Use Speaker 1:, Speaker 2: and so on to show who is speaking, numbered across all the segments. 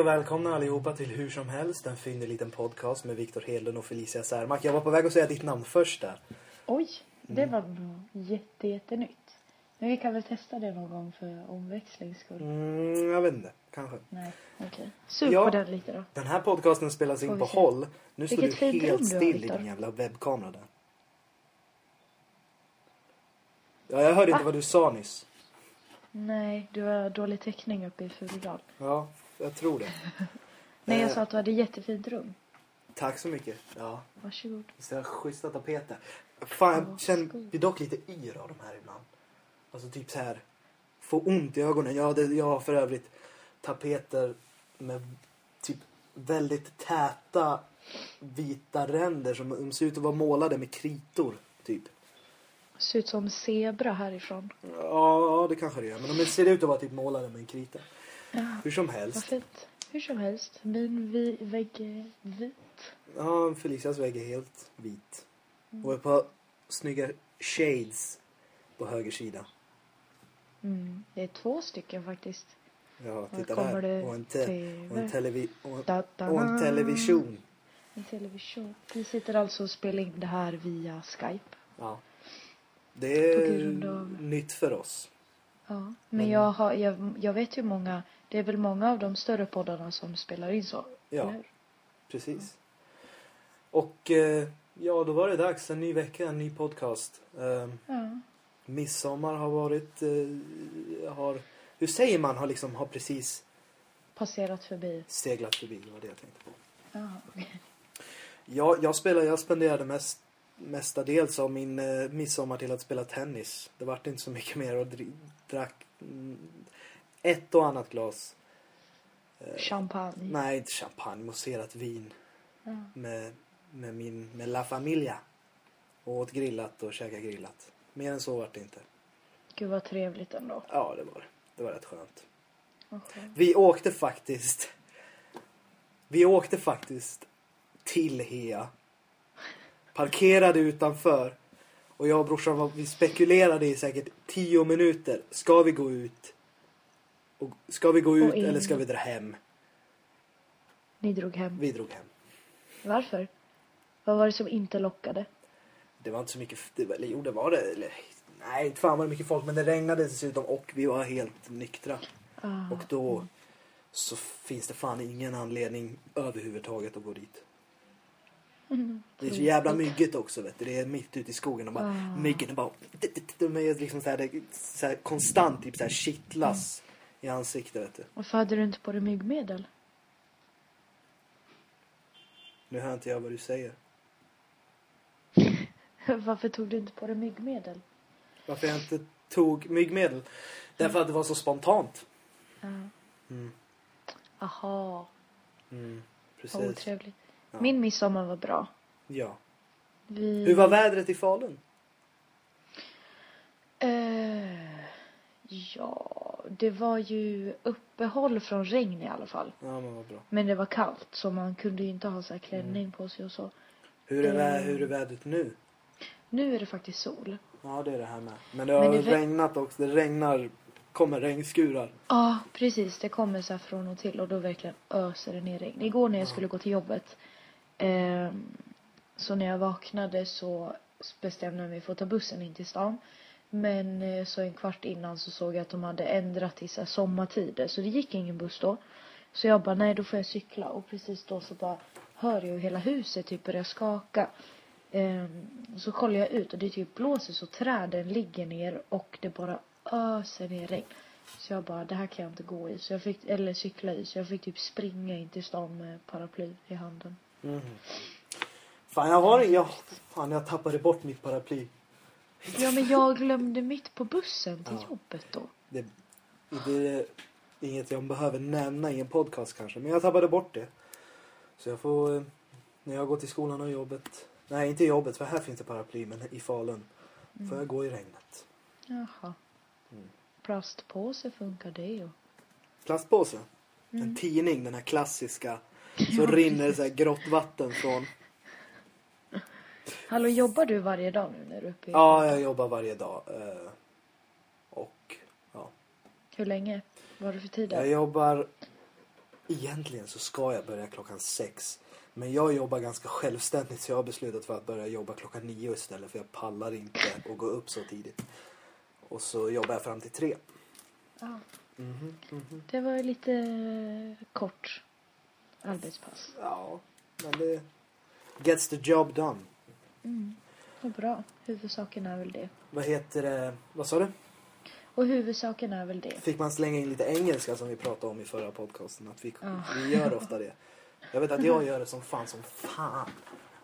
Speaker 1: och välkomna allihopa till Hur som helst, en fyndig liten podcast med Viktor Hedlund och Felicia Särmark. Jag var på väg att säga ditt namn först där.
Speaker 2: Oj, det
Speaker 1: Mm.
Speaker 2: var nog jätte, jättenytt. Men vi kan väl testa det någon gång för omväxlings skull.
Speaker 1: Mm, jag vet inte, kanske.
Speaker 2: Nej, okej. Sug
Speaker 1: Ja.
Speaker 2: på den lite då.
Speaker 1: Den här podcasten spelas
Speaker 2: Får
Speaker 1: in
Speaker 2: vi
Speaker 1: på
Speaker 2: se.
Speaker 1: håll. Nu står
Speaker 2: Vilket
Speaker 1: du
Speaker 2: fint rum
Speaker 1: helt
Speaker 2: du har,
Speaker 1: still i
Speaker 2: Viktor.
Speaker 1: din jävla webbkamera där. Ja, jag hörde inte vad du sa nyss.
Speaker 2: Nej, du har dålig täckning uppe i Furudal.
Speaker 1: Ja, jag tror det.
Speaker 2: Nej, jag
Speaker 1: Eh.
Speaker 2: sa att du hade jättefint rum.
Speaker 1: Tack så mycket. Ja,
Speaker 2: Varsågod.
Speaker 1: så jag har schyssta tapeter. Fan,
Speaker 2: Ja,
Speaker 1: jag känner
Speaker 2: skoj.
Speaker 1: mig dock lite yr av de här ibland. Alltså typ så här, få ont i ögonen. Jag hade, jag har för övrigt tapeter med typ väldigt täta vita ränder som de ser ut att vara målade med kritor, typ.
Speaker 2: Ser ut som zebra härifrån.
Speaker 1: Ja, det kanske det gör. Men de ser ut att vara typ målade med en krita.
Speaker 2: Ja,
Speaker 1: Hur som
Speaker 2: vad
Speaker 1: helst.
Speaker 2: fint. Hur som helst, min vi, vägg är vit.
Speaker 1: Ja, Felicias vägg är helt vit.
Speaker 2: Mm.
Speaker 1: Och ett par snygga shades på höger sida.
Speaker 2: Mm. Det är två stycken faktiskt.
Speaker 1: Ja,
Speaker 2: Här
Speaker 1: titta där.
Speaker 2: kommer det
Speaker 1: Och en, te-
Speaker 2: TV.
Speaker 1: och en, televi- och, en-
Speaker 2: Da, da,
Speaker 1: och en
Speaker 2: da.
Speaker 1: television.
Speaker 2: En television. Vi sitter alltså och spelar in det här via Skype.
Speaker 1: Ja. Det
Speaker 2: På
Speaker 1: är
Speaker 2: grund av-
Speaker 1: nytt för oss.
Speaker 2: Ja, men,
Speaker 1: Men-
Speaker 2: jag, har, jag, jag vet ju många, det är väl många av de större poddarna som spelar in så?
Speaker 1: Ja.
Speaker 2: eller hur?
Speaker 1: Precis. Och eh, ja, då var det dags. En ny vecka, en ny podcast. Ehm,
Speaker 2: ja.
Speaker 1: midsommar har varit... Eh, har, hur säger man? Har liksom har precis
Speaker 2: Passerat förbi.
Speaker 1: seglat förbi. Det var det jag tänkte på.
Speaker 2: Ja.
Speaker 1: Ja, jag, spelar, jag spenderade mest, mestadels av min eh, midsommar till att spela tennis. Det vart inte så mycket mer och dri- drack mm, ett och annat glas. Eh,
Speaker 2: Champagne.
Speaker 1: Nej, inte champagne, mousserat vin
Speaker 2: Ja.
Speaker 1: med, med, min, med La Familia. Och åt grillat och käkade grillat. Mer än så vart det inte.
Speaker 2: Gud vad trevligt ändå.
Speaker 1: Ja, det var det. Det var rätt skönt.
Speaker 2: Vad skönt.
Speaker 1: Vi åkte faktiskt... Vi åkte faktiskt till Hea. Parkerade utanför. Och jag och brorsan var, vi spekulerade i säkert tio minuter. Ska vi gå ut? Och, ska vi gå ut
Speaker 2: in.
Speaker 1: eller ska vi dra hem?
Speaker 2: Ni drog hem.
Speaker 1: Vi drog hem.
Speaker 2: Varför? Vad var det som inte lockade?
Speaker 1: Det var inte så mycket... Det var, eller jo, det var det. Eller, nej, inte fan var det mycket folk. Men det regnade dessutom och vi var helt nyktra.
Speaker 2: Ah,
Speaker 1: Och då så finns det fan ingen anledning överhuvudtaget att gå dit. Det är så jävla myggigt också vet du. Det är mitt ute i skogen och bara
Speaker 2: Ah.
Speaker 1: myggen är bara de är liksom så här, det- så här konstant typ så här kittlas i ansiktet vet du.
Speaker 2: Varför hade du inte på dig myggmedel?
Speaker 1: Nu hör inte jag vad du säger.
Speaker 2: Varför tog du inte på dig myggmedel?
Speaker 1: Varför jag inte tog myggmedel? Därför att det var så spontant. Mm.
Speaker 2: Aha, vad
Speaker 1: Precis.
Speaker 2: otrevligt. Min midsommar var bra.
Speaker 1: Ja.
Speaker 2: Vi...
Speaker 1: Hur var vädret i Falun?
Speaker 2: Eh, ja, det var ju uppehåll från regn i alla fall.
Speaker 1: Ja men vad bra.
Speaker 2: Men det var kallt så man kunde ju inte ha så här klänning på sig och så.
Speaker 1: Hur är,
Speaker 2: Eh.
Speaker 1: vä- hur är vädret nu?
Speaker 2: Nu är det faktiskt sol.
Speaker 1: Ja det är det här med. Men det har
Speaker 2: Men det-
Speaker 1: regnat också. Det regnar. Kommer regnskurar.
Speaker 2: Ja, precis. Det kommer så här från och till och då verkligen öser det ner regn. Igår när jag skulle gå till jobbet ehm, så när jag vaknade så bestämde jag mig för att ta bussen in till stan. Men eh, så en kvart innan så såg jag att de hade ändrat till så här sommartider så det gick ingen buss då. Så jag bara, nej då får jag cykla och precis då så bara hör jag hur hela huset typ börjar skaka. Ehm, så kollar jag ut och det typ blåser så träden ligger ner och det bara öser ner regn. Så jag bara, det här kan jag inte gå i. Så jag fick, eller cykla i. Så jag fick typ springa in till stan med paraply i handen.
Speaker 1: Fan jag har jag, fan, jag tappade bort mitt paraply.
Speaker 2: Ja men jag glömde mitt på bussen till
Speaker 1: Ja.
Speaker 2: jobbet då.
Speaker 1: Det, det är inget jag behöver nämna i en podcast kanske. Men jag tappade bort det. Så jag får, eh, när jag går till skolan och jobbet. Nej inte jobbet för här finns det paraply men i Falun. Får jag gå i regnet.
Speaker 2: Jaha.
Speaker 1: Mm.
Speaker 2: Plastpåse funkar det ju.
Speaker 1: Plastpåse. En tidning, den här klassiska. Så rinner det så här grått vatten från.
Speaker 2: Hallå jobbar du varje dag nu när du är uppe i...
Speaker 1: Ja, jag jobbar varje dag. eh, Och ja.
Speaker 2: Hur länge? Vad har du för tid
Speaker 1: Jag
Speaker 2: där?
Speaker 1: jobbar egentligen så ska jag börja klockan sex. Men jag jobbar ganska självständigt så jag har beslutat för att börja jobba klockan nio istället för jag pallar inte att gå upp så tidigt. Och så jobbar jag fram till tre.
Speaker 2: Ja. Det var ju lite eh, kort arbetspass.
Speaker 1: Ja, men det gets the job done.
Speaker 2: Mm. Vad bra. Huvudsaken är väl det.
Speaker 1: Vad heter det? Vad sa du?
Speaker 2: Och huvudsaken är väl det.
Speaker 1: Fick man slänga in lite engelska som vi pratade om i förra podcasten? Att vi,
Speaker 2: Ja.
Speaker 1: vi gör ofta det. Jag vet att jag gör det som fan som fan.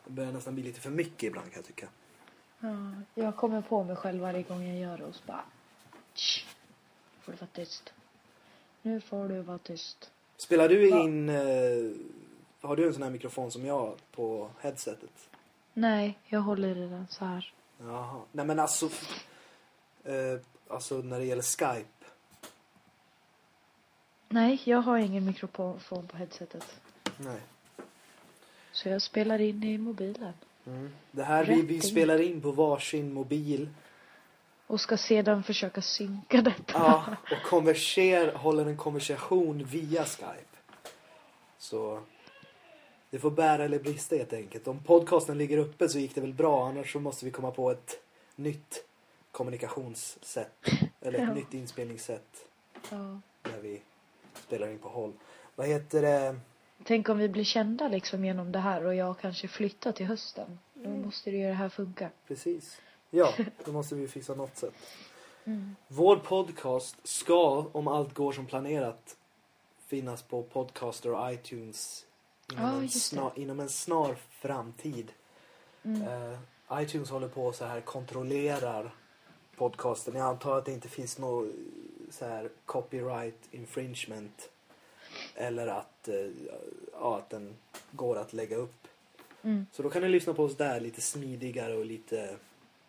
Speaker 1: Det börjar nästan bli lite för mycket ibland kan jag tycka.
Speaker 2: Ja, jag kommer på mig själv varje gång jag gör det och så bara... Tsch, Nu får du vara tyst. Nu får du vara tyst.
Speaker 1: Spelar du
Speaker 2: Ja.
Speaker 1: in... Eh, har du en sån här mikrofon som jag har på headsetet?
Speaker 2: Nej, jag håller i den så här.
Speaker 1: Jaha. Nej men alltså... Eh, alltså när det gäller Skype.
Speaker 2: Nej, jag har ingen mikrofon på headsetet.
Speaker 1: Nej.
Speaker 2: Så jag spelar in i mobilen.
Speaker 1: Det här vi,
Speaker 2: Rätt
Speaker 1: vi
Speaker 2: in.
Speaker 1: spelar in på varsin mobil.
Speaker 2: Och ska sedan försöka synka detta.
Speaker 1: Ja, och konverser, håller en konversation via Skype. Så det får bära eller brista helt enkelt. Om podcasten ligger uppe så gick det väl bra, annars så måste vi komma på ett nytt kommunikationssätt. Eller ett
Speaker 2: Ja.
Speaker 1: nytt inspelningssätt
Speaker 2: Ja.
Speaker 1: när vi spelar in på håll. Vad heter det?
Speaker 2: Tänk om vi blir kända liksom genom det här och jag kanske flyttar till hösten. Då
Speaker 1: Mm.
Speaker 2: måste ju det här funka.
Speaker 1: Precis. Ja, då måste vi fixa något sätt.
Speaker 2: Mm.
Speaker 1: Vår podcast ska, om allt går som planerat, finnas på Podcaster och iTunes inom,
Speaker 2: Ja,
Speaker 1: en,
Speaker 2: just det.
Speaker 1: snar, inom en snar framtid.
Speaker 2: Mm.
Speaker 1: Eh, iTunes håller på så här kontrollerar podcasten. Jag antar att det inte finns något så här copyright infringement eller att, eh, ja, att den går att lägga upp.
Speaker 2: Mm.
Speaker 1: Så då kan ni lyssna på oss där lite smidigare och lite...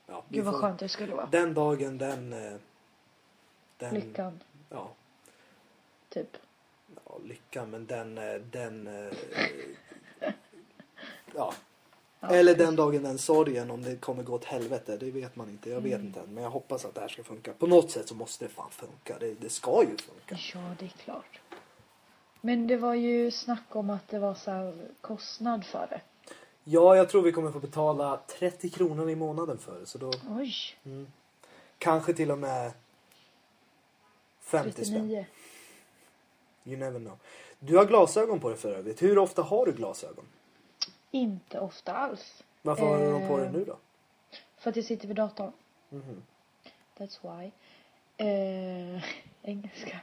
Speaker 1: Ja, vi
Speaker 2: Gud vad
Speaker 1: får-
Speaker 2: skönt det skulle vara.
Speaker 1: Den dagen, den... eh, den
Speaker 2: Lyckan,
Speaker 1: Ja,
Speaker 2: typ.
Speaker 1: ja, lyckan, men den... eh, den eh, ja.
Speaker 2: Ja,
Speaker 1: Eller den
Speaker 2: precis.
Speaker 1: dagen, den sorgen, om det kommer gå åt helvete. Det vet man inte. Jag vet
Speaker 2: Mm.
Speaker 1: inte än. Men jag hoppas att det här ska funka. På något sätt så måste det fan funka. Det, det ska ju funka.
Speaker 2: Ja, det är klart. Men det var ju snack om att det var så här kostnad för det.
Speaker 1: Ja, jag tror vi kommer få betala 30 kronor i månaden för det. Så då
Speaker 2: Oj,
Speaker 1: kanske till och med 50 spänn.
Speaker 2: 39.
Speaker 1: You never know. Du har glasögon på dig för övrigt. Hur ofta har du glasögon?
Speaker 2: Inte ofta alls.
Speaker 1: Varför har du dem på
Speaker 2: Eh,
Speaker 1: dig nu då? Mhm.
Speaker 2: För att jag sitter vid datorn. That's why. Eh, engelska.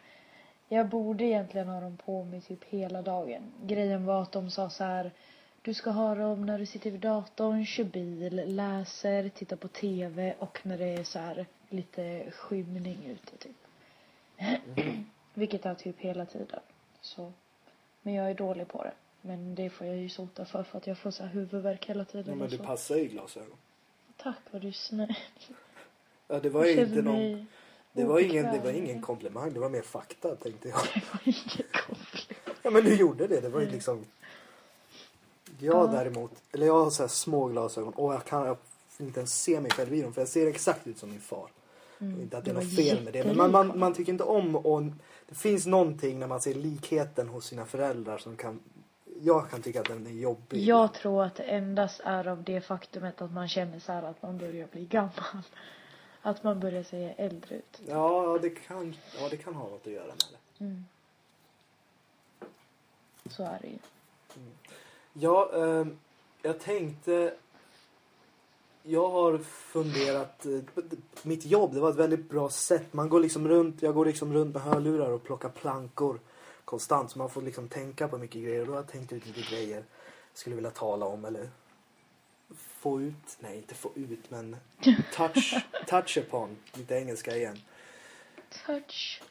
Speaker 2: Jag borde egentligen ha dem på mig typ hela dagen. Grejen var att de sa så här. Du ska ha dem när du sitter vid datorn, kör bil, läser, tittar på TV och när det är så här lite skymning ute typ. Vilket är typ hela tiden. Så. Men jag är dålig på det. Men det får jag ju sota för för att jag får så här huvudvärk hela tiden
Speaker 1: Ja, men
Speaker 2: och
Speaker 1: det
Speaker 2: så.
Speaker 1: passar ju glasögon.
Speaker 2: Tack vad du är snäll.
Speaker 1: Ja, det var ju
Speaker 2: Jag känner
Speaker 1: inte någon...
Speaker 2: mig
Speaker 1: Det var, ingen, det var
Speaker 2: obekväm.
Speaker 1: ingen komplimang, det var mer fakta tänkte jag.
Speaker 2: Det var ingen komplimang.
Speaker 1: Ja men du gjorde det, det var ju liksom... Jag
Speaker 2: Mm. Ja.
Speaker 1: däremot, eller jag har så här små glasögon och jag kan jag får inte ens se mig själv i dem för jag ser exakt ut som min far. Och inte att det är
Speaker 2: Mm. Det
Speaker 1: något
Speaker 2: var
Speaker 1: fel med det men
Speaker 2: jättelik
Speaker 1: man, man,
Speaker 2: honom.
Speaker 1: man tycker inte om och Det finns någonting när man ser likheten hos sina föräldrar som kan... Jag kan tycka att den är jobbig.
Speaker 2: Jag tror att det endast är av det faktumet att man känner så här att man börjar bli gammal. Att man börjar se äldre ut.
Speaker 1: Ja, det kan, ja, det kan ha något att göra med det.
Speaker 2: Mm. Så är det ju.
Speaker 1: Ja, ehm, jag tänkte... Jag har funderat... eh, på- Mitt jobb, det var ett väldigt bra sätt. Man går liksom runt, jag går liksom runt med hörlurar och plockar plankor konstant. Så man får liksom tänka på mycket grejer. Och då har jag tänkt ut lite grejer jag skulle vilja tala om eller få ut, nej inte få ut men touch, touch upon, lite engelska igen.
Speaker 2: Touch.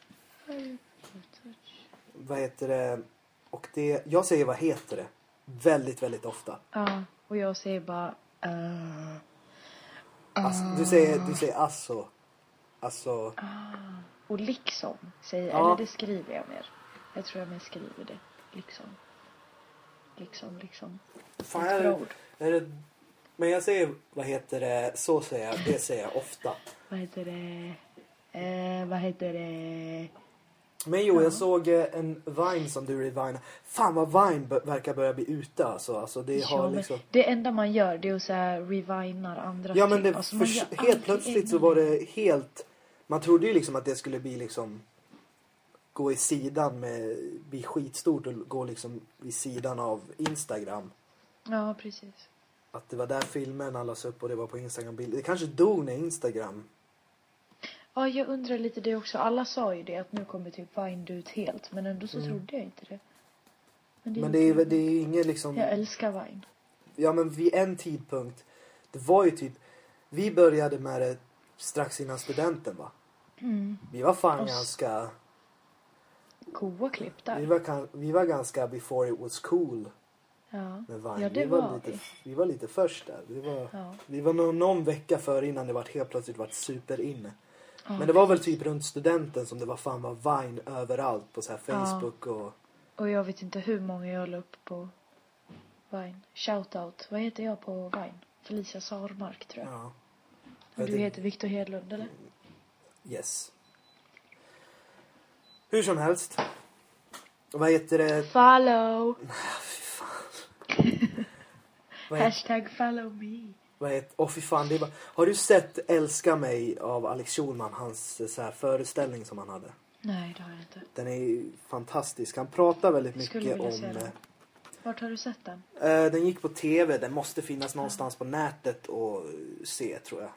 Speaker 2: Touch.
Speaker 1: Vad heter det? Och det, jag säger vad heter det? Väldigt, väldigt ofta.
Speaker 2: Ja, och jag säger bara uh,
Speaker 1: Ass, Alltså,
Speaker 2: Ah.
Speaker 1: du säger, du säger alltså. Alltså,
Speaker 2: Ah. och liksom säger
Speaker 1: Ja.
Speaker 2: Eller det skriver jag mer. Jag tror jag mer skriver det. Liksom. Liksom, liksom.
Speaker 1: fan
Speaker 2: ett
Speaker 1: är
Speaker 2: bra
Speaker 1: det,
Speaker 2: ord.
Speaker 1: är det, men jag säger, vad heter det, så säger jag, det säger jag ofta.
Speaker 2: Vad heter det? Eh, vad heter det?
Speaker 1: Men jo,
Speaker 2: Ja.
Speaker 1: jag såg eh, en Vine som du revinade. Fan vad Vine b- verkar börja bli ute alltså. alltså det
Speaker 2: ja,
Speaker 1: har
Speaker 2: men
Speaker 1: liksom...
Speaker 2: Det enda man gör det är att så här revinar andra
Speaker 1: Ja men
Speaker 2: klipp.
Speaker 1: det,
Speaker 2: Alltså, man
Speaker 1: förs-
Speaker 2: gör
Speaker 1: helt
Speaker 2: alltid
Speaker 1: plötsligt så
Speaker 2: egna
Speaker 1: var det helt... Man trodde ju liksom att det skulle bli liksom... Gå i sidan med... Bli skitstort och gå liksom vid sidan av Instagram.
Speaker 2: Ja, precis.
Speaker 1: Att det var där filmen lades upp och det var på Instagram-bilder. Det kanske dog när Instagram...
Speaker 2: Ja, jag undrar lite det också. Alla sa ju det att nu kommer typ Vine ut helt. Men ändå så trodde jag inte det.
Speaker 1: Mm. Men det är,
Speaker 2: inte-
Speaker 1: det är ingen liksom...
Speaker 2: Jag älskar Vine.
Speaker 1: ja men vid en tidpunkt, det var ju typ, vi började med det strax innan studenten va?
Speaker 2: Mm.
Speaker 1: Vi var fan
Speaker 2: Och s-
Speaker 1: ganska,
Speaker 2: Goa klipp
Speaker 1: vi
Speaker 2: där.
Speaker 1: var, kan- vi var ganska before it was cool
Speaker 2: Ja,
Speaker 1: med Vine.
Speaker 2: ja det
Speaker 1: vi,
Speaker 2: var,
Speaker 1: var
Speaker 2: vi.
Speaker 1: lite, vi var lite först där. Vi var,
Speaker 2: Ja.
Speaker 1: vi var någon, någon vecka före innan det var helt plötsligt vart superinne. Men det var väl typ runt studenten som det var fan var Vine överallt på så här
Speaker 2: Ja.
Speaker 1: Facebook och
Speaker 2: Och jag vet inte hur många jag la upp på Vine. Shoutout. Vad heter jag på Vine? Felicia Sarmark tror jag.
Speaker 1: ja.
Speaker 2: Och
Speaker 1: jag
Speaker 2: du
Speaker 1: vet-
Speaker 2: heter Viktor Hedlund eller?
Speaker 1: Yes. Hur som helst. Vad heter det?
Speaker 2: Follow!
Speaker 1: Vad heter,
Speaker 2: Hashtag follow me.
Speaker 1: vad heter, åh fy fan, det är bara, har du sett Älska mig av Alex Schulman, hans eh, så här, föreställning som han hade?
Speaker 2: Nej, det har jag inte.
Speaker 1: Den är ju fantastisk. Han pratar väldigt
Speaker 2: Skulle
Speaker 1: mycket
Speaker 2: vilja
Speaker 1: om...
Speaker 2: se den. Vart har du sett den?
Speaker 1: eh, eh, den gick på tv, den måste finnas någonstans på nätet och eh, se tror jag.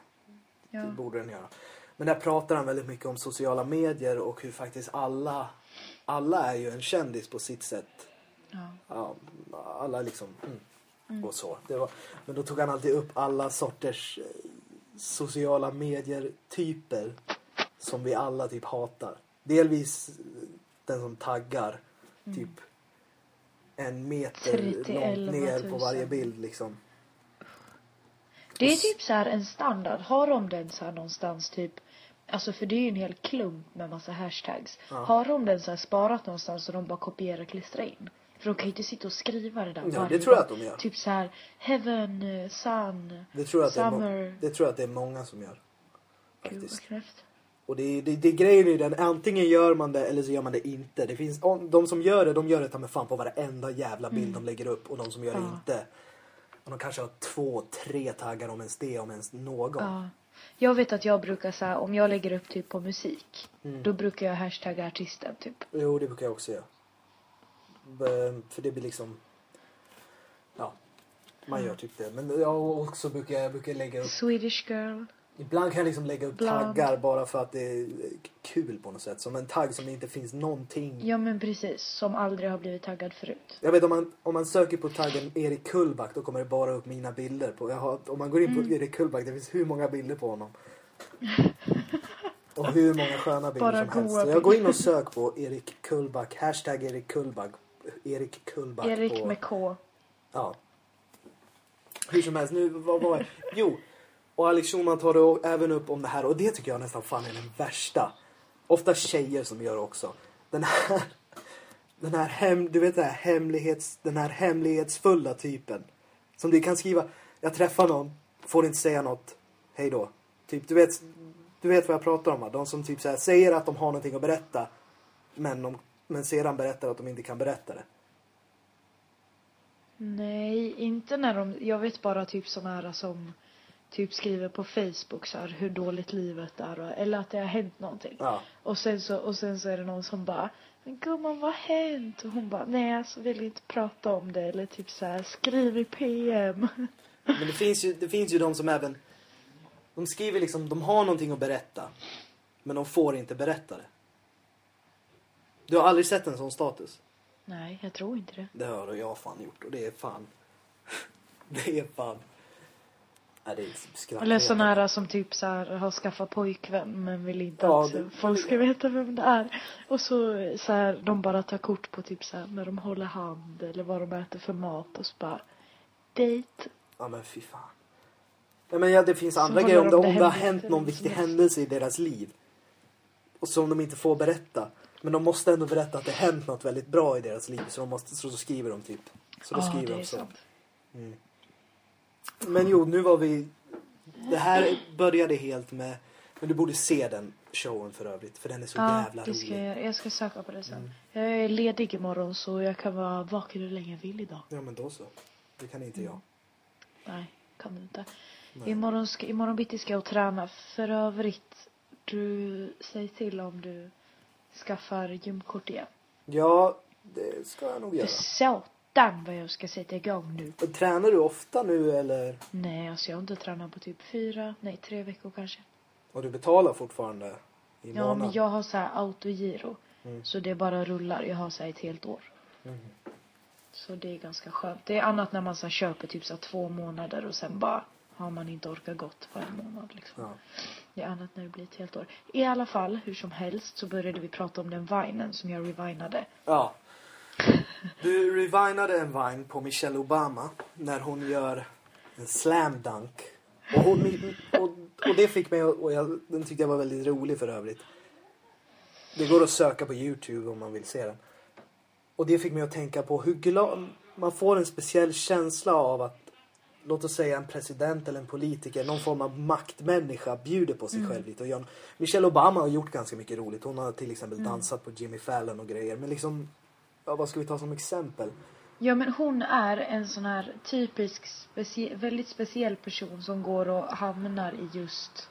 Speaker 2: Ja.
Speaker 1: Det borde den göra. Men där pratar han väldigt mycket om sociala medier och hur faktiskt alla, alla är ju en kändis på sitt sätt.
Speaker 2: ja.
Speaker 1: ja, alla liksom mm, och så. Det var, men då tog han alltid upp alla sorters eh, sociala medier-typer som vi alla typ hatar. Delvis eh, den som taggar
Speaker 2: Mm.
Speaker 1: typ en meter
Speaker 2: 30
Speaker 1: långt ner
Speaker 2: 11
Speaker 1: på
Speaker 2: 000.
Speaker 1: varje bild liksom.
Speaker 2: Det är typ så här en standard. Har de den så här någonstans typ Alltså för det är ju en hel klump med massa hashtags. Har de den så här sparat någonstans så de bara kopierar och klistrar in? För de kan ju inte sitta och skriva det där
Speaker 1: Ja,
Speaker 2: varje
Speaker 1: det tror jag
Speaker 2: gång.
Speaker 1: att de gör.
Speaker 2: Typ så här heaven, eh, sun,
Speaker 1: Det tror jag att, det är, må-
Speaker 2: summer.
Speaker 1: det tror jag att det är många som gör.
Speaker 2: Gud vad
Speaker 1: Faktiskt.
Speaker 2: knäppt.
Speaker 1: Och det, är- det, det är grejen i den, antingen gör man det eller så gör man det inte. Det finns, om, de som gör det, de gör det ta mig fan på varenda jävla bild de lägger upp. Och de som gör det
Speaker 2: Ja.
Speaker 1: inte, och de kanske har två, tre taggar om ens det, om ens någon.
Speaker 2: Ja. Jag vet att jag brukar så här, om jag lägger upp typ på musik.
Speaker 1: Mm.
Speaker 2: Då brukar jag hashtagga artisten typ.
Speaker 1: Jo, det brukar jag också göra. B- För det blir liksom, ja, man gör typ det. Men jag också brukar, jag brukar lägga upp,
Speaker 2: Swedish girl.
Speaker 1: ibland kan jag liksom lägga upp
Speaker 2: Bland-
Speaker 1: taggar bara för att det är kul på något sätt. Som en tagg som det inte finns någonting
Speaker 2: Ja men precis. Som aldrig har blivit taggad förut.
Speaker 1: Jag vet om man, om man söker på taggen Erik Kullback då kommer det bara upp mina bilder. På, jag har, om man går in på
Speaker 2: Mm.
Speaker 1: Erik Kullback det finns hur många bilder på honom. Och hur många sköna bilder
Speaker 2: Bara
Speaker 1: som helst.
Speaker 2: goa
Speaker 1: Så jag går in och söker på Erik Kullback, hashtag Erik Kullback. Erik Kullback
Speaker 2: Erik
Speaker 1: på...
Speaker 2: med K.
Speaker 1: Ja. Hur som helst, nu vad var jag? Jo, och Alex Schulman tar det o- även upp om det här och det tycker jag nästan fan är den värsta. Ofta tjejer som gör det också. Den här, den här, hem, du vet det här, hemlighets, den här hemlighetsfulla typen. Som du kan skriva, jag träffar någon, får inte säga något, hej då. Typ, du vet, du vet vad jag pratar om va? De som typ så här, säger att de har någonting att berätta men, de, men sedan berättar att de inte kan berätta det.
Speaker 2: Nej, inte när de, jag vet bara typ såna här som typ skriver på Facebook så här hur dåligt livet är och, eller att det har hänt någonting.
Speaker 1: Ja.
Speaker 2: Och sen så, och sen så är det någon som bara men gumman vad har hänt? Och hon bara nej alltså vill inte prata om det eller typ så här skriv i PM.
Speaker 1: Men det finns ju, det finns ju de som även... De skriver liksom, de har någonting att berätta. Men de får inte berätta det. Du har aldrig sett en sån status?
Speaker 2: nej, jag tror inte det.
Speaker 1: Det har jag fan gjort och det är fan... Det är fan... Nej, det är liksom skratt.
Speaker 2: Eller såna här som typ så här har skaffat pojkvän men vill inte
Speaker 1: Ja,
Speaker 2: att
Speaker 1: det-
Speaker 2: folk ska veta vem det är. Och så, så här, de bara tar kort på typ så här när de håller hand eller vad de äter för mat och så bara dejt.
Speaker 1: Ja men fy fan. Ja, men ja, det finns andra
Speaker 2: håller
Speaker 1: grejer om det,
Speaker 2: de det
Speaker 1: om det har
Speaker 2: hemligt
Speaker 1: hänt
Speaker 2: för
Speaker 1: någon
Speaker 2: vem
Speaker 1: viktig
Speaker 2: som helst.
Speaker 1: händelse i deras liv. Och som de inte får berätta. Men de måste ändå berätta att det hänt något väldigt bra i deras liv. Så, de måste, så, så skriver de typ. Så då skriver de så. Men jo, nu var vi... Det här började helt med Men du borde se den showen för övrigt, för den är så
Speaker 2: ja,
Speaker 1: jävla Mm.
Speaker 2: det ska
Speaker 1: rolig.
Speaker 2: jag göra. Jag ska söka på det sen. Jag är ledig imorgon så jag kan vara vaken hur länge jag vill idag.
Speaker 1: Ja, men då så. Det kan inte
Speaker 2: Mm.
Speaker 1: jag.
Speaker 2: Nej, kan du inte.
Speaker 1: Nej.
Speaker 2: Imorgon, ska, imorgon bitti ska jag träna. För övrigt, du, säg till om du skaffar gymkort igen.
Speaker 1: Ja, det ska jag nog
Speaker 2: För
Speaker 1: göra.
Speaker 2: satan vad jag ska sätta igång nu.
Speaker 1: Och Tränar du ofta nu eller?
Speaker 2: Nej, alltså jag har inte tränat på typ fyra, nej tre veckor kanske.
Speaker 1: Och du betalar fortfarande i
Speaker 2: Ja, men
Speaker 1: månaden?
Speaker 2: jag har så här autogiro.
Speaker 1: Mm.
Speaker 2: Så det bara rullar. Jag har så här ett helt år. Så det är ganska skönt. Det är annat när man så här köper typ så här två månader och sen bara har man inte orkat gått på en månad liksom.
Speaker 1: Ja.
Speaker 2: Det är annat när det blir ett helt år. I alla fall, hur som helst, så började vi prata om den vinen som jag revinade.
Speaker 1: Ja. Du revinade en vagn på Michelle Obama när hon gör en slam dunk. Och, hon, och, och det fick mig, och jag, den tyckte jag var väldigt rolig för övrigt. Det går att söka på Youtube om man vill se den. Och det fick mig att tänka på hur glad, man får en speciell känsla av att låt oss säga en president eller en politiker, någon form av maktmänniska bjuder på sig själv lite. Och gör, Michelle Obama har gjort ganska mycket roligt. Hon har till exempel dansat på Jimmy Fallon och grejer. Men liksom, ja, vad ska vi ta som exempel?
Speaker 2: Ja men hon är en sån här typisk, specie- väldigt speciell person som går och hamnar i just,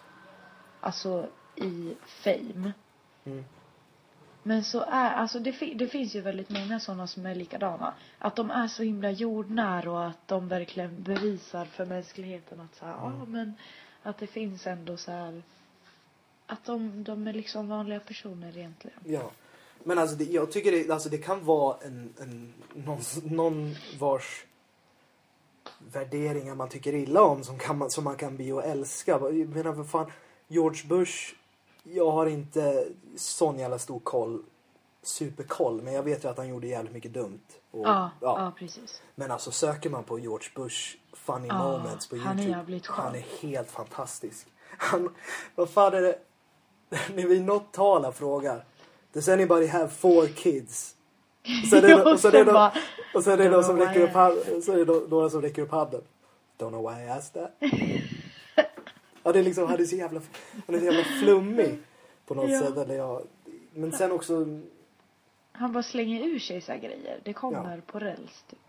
Speaker 2: alltså i fame.
Speaker 1: Mm.
Speaker 2: Men så är, alltså det, fi- det finns ju väldigt många såna som är likadana. Att de är så himla jordnära och att de verkligen bevisar för mänskligheten att så här, ja
Speaker 1: Mm.
Speaker 2: men att det finns ändå så här att de, de är liksom vanliga personer egentligen.
Speaker 1: Ja. Men alltså, det, jag tycker det, alltså, det kan vara en, en, någon, någon vars värderingar man tycker illa om som, kan man, som man kan bli och älska. Jag menar för fan, George Bush, jag har inte sån jävla stor koll, superkoll, men jag vet ju att han gjorde jävligt mycket dumt. Och,
Speaker 2: Ja, ja, precis.
Speaker 1: Men alltså söker man på George Bush funny
Speaker 2: Ja,
Speaker 1: moments på Youtube.
Speaker 2: han är jävligt skön.
Speaker 1: Han är helt fantastisk. Han, vad fan är det? När vi något tal han frågar. Does anybody have four kids? Och sen är
Speaker 2: Ja,
Speaker 1: det, och sen är det,
Speaker 2: bara,
Speaker 1: och sen är det
Speaker 2: "Don't
Speaker 1: någon som
Speaker 2: know
Speaker 1: räcker
Speaker 2: why
Speaker 1: upp
Speaker 2: I-"
Speaker 1: handen. Så är det no- några som räcker upp handen. Don't know why I asked that. ja, det är liksom, han är så jävla, han är så jävla flummig. På något
Speaker 2: Ja.
Speaker 1: sätt. Eller jag, men sen också
Speaker 2: Han bara slänger ur sig så här grejer. Det kommer på räls typ.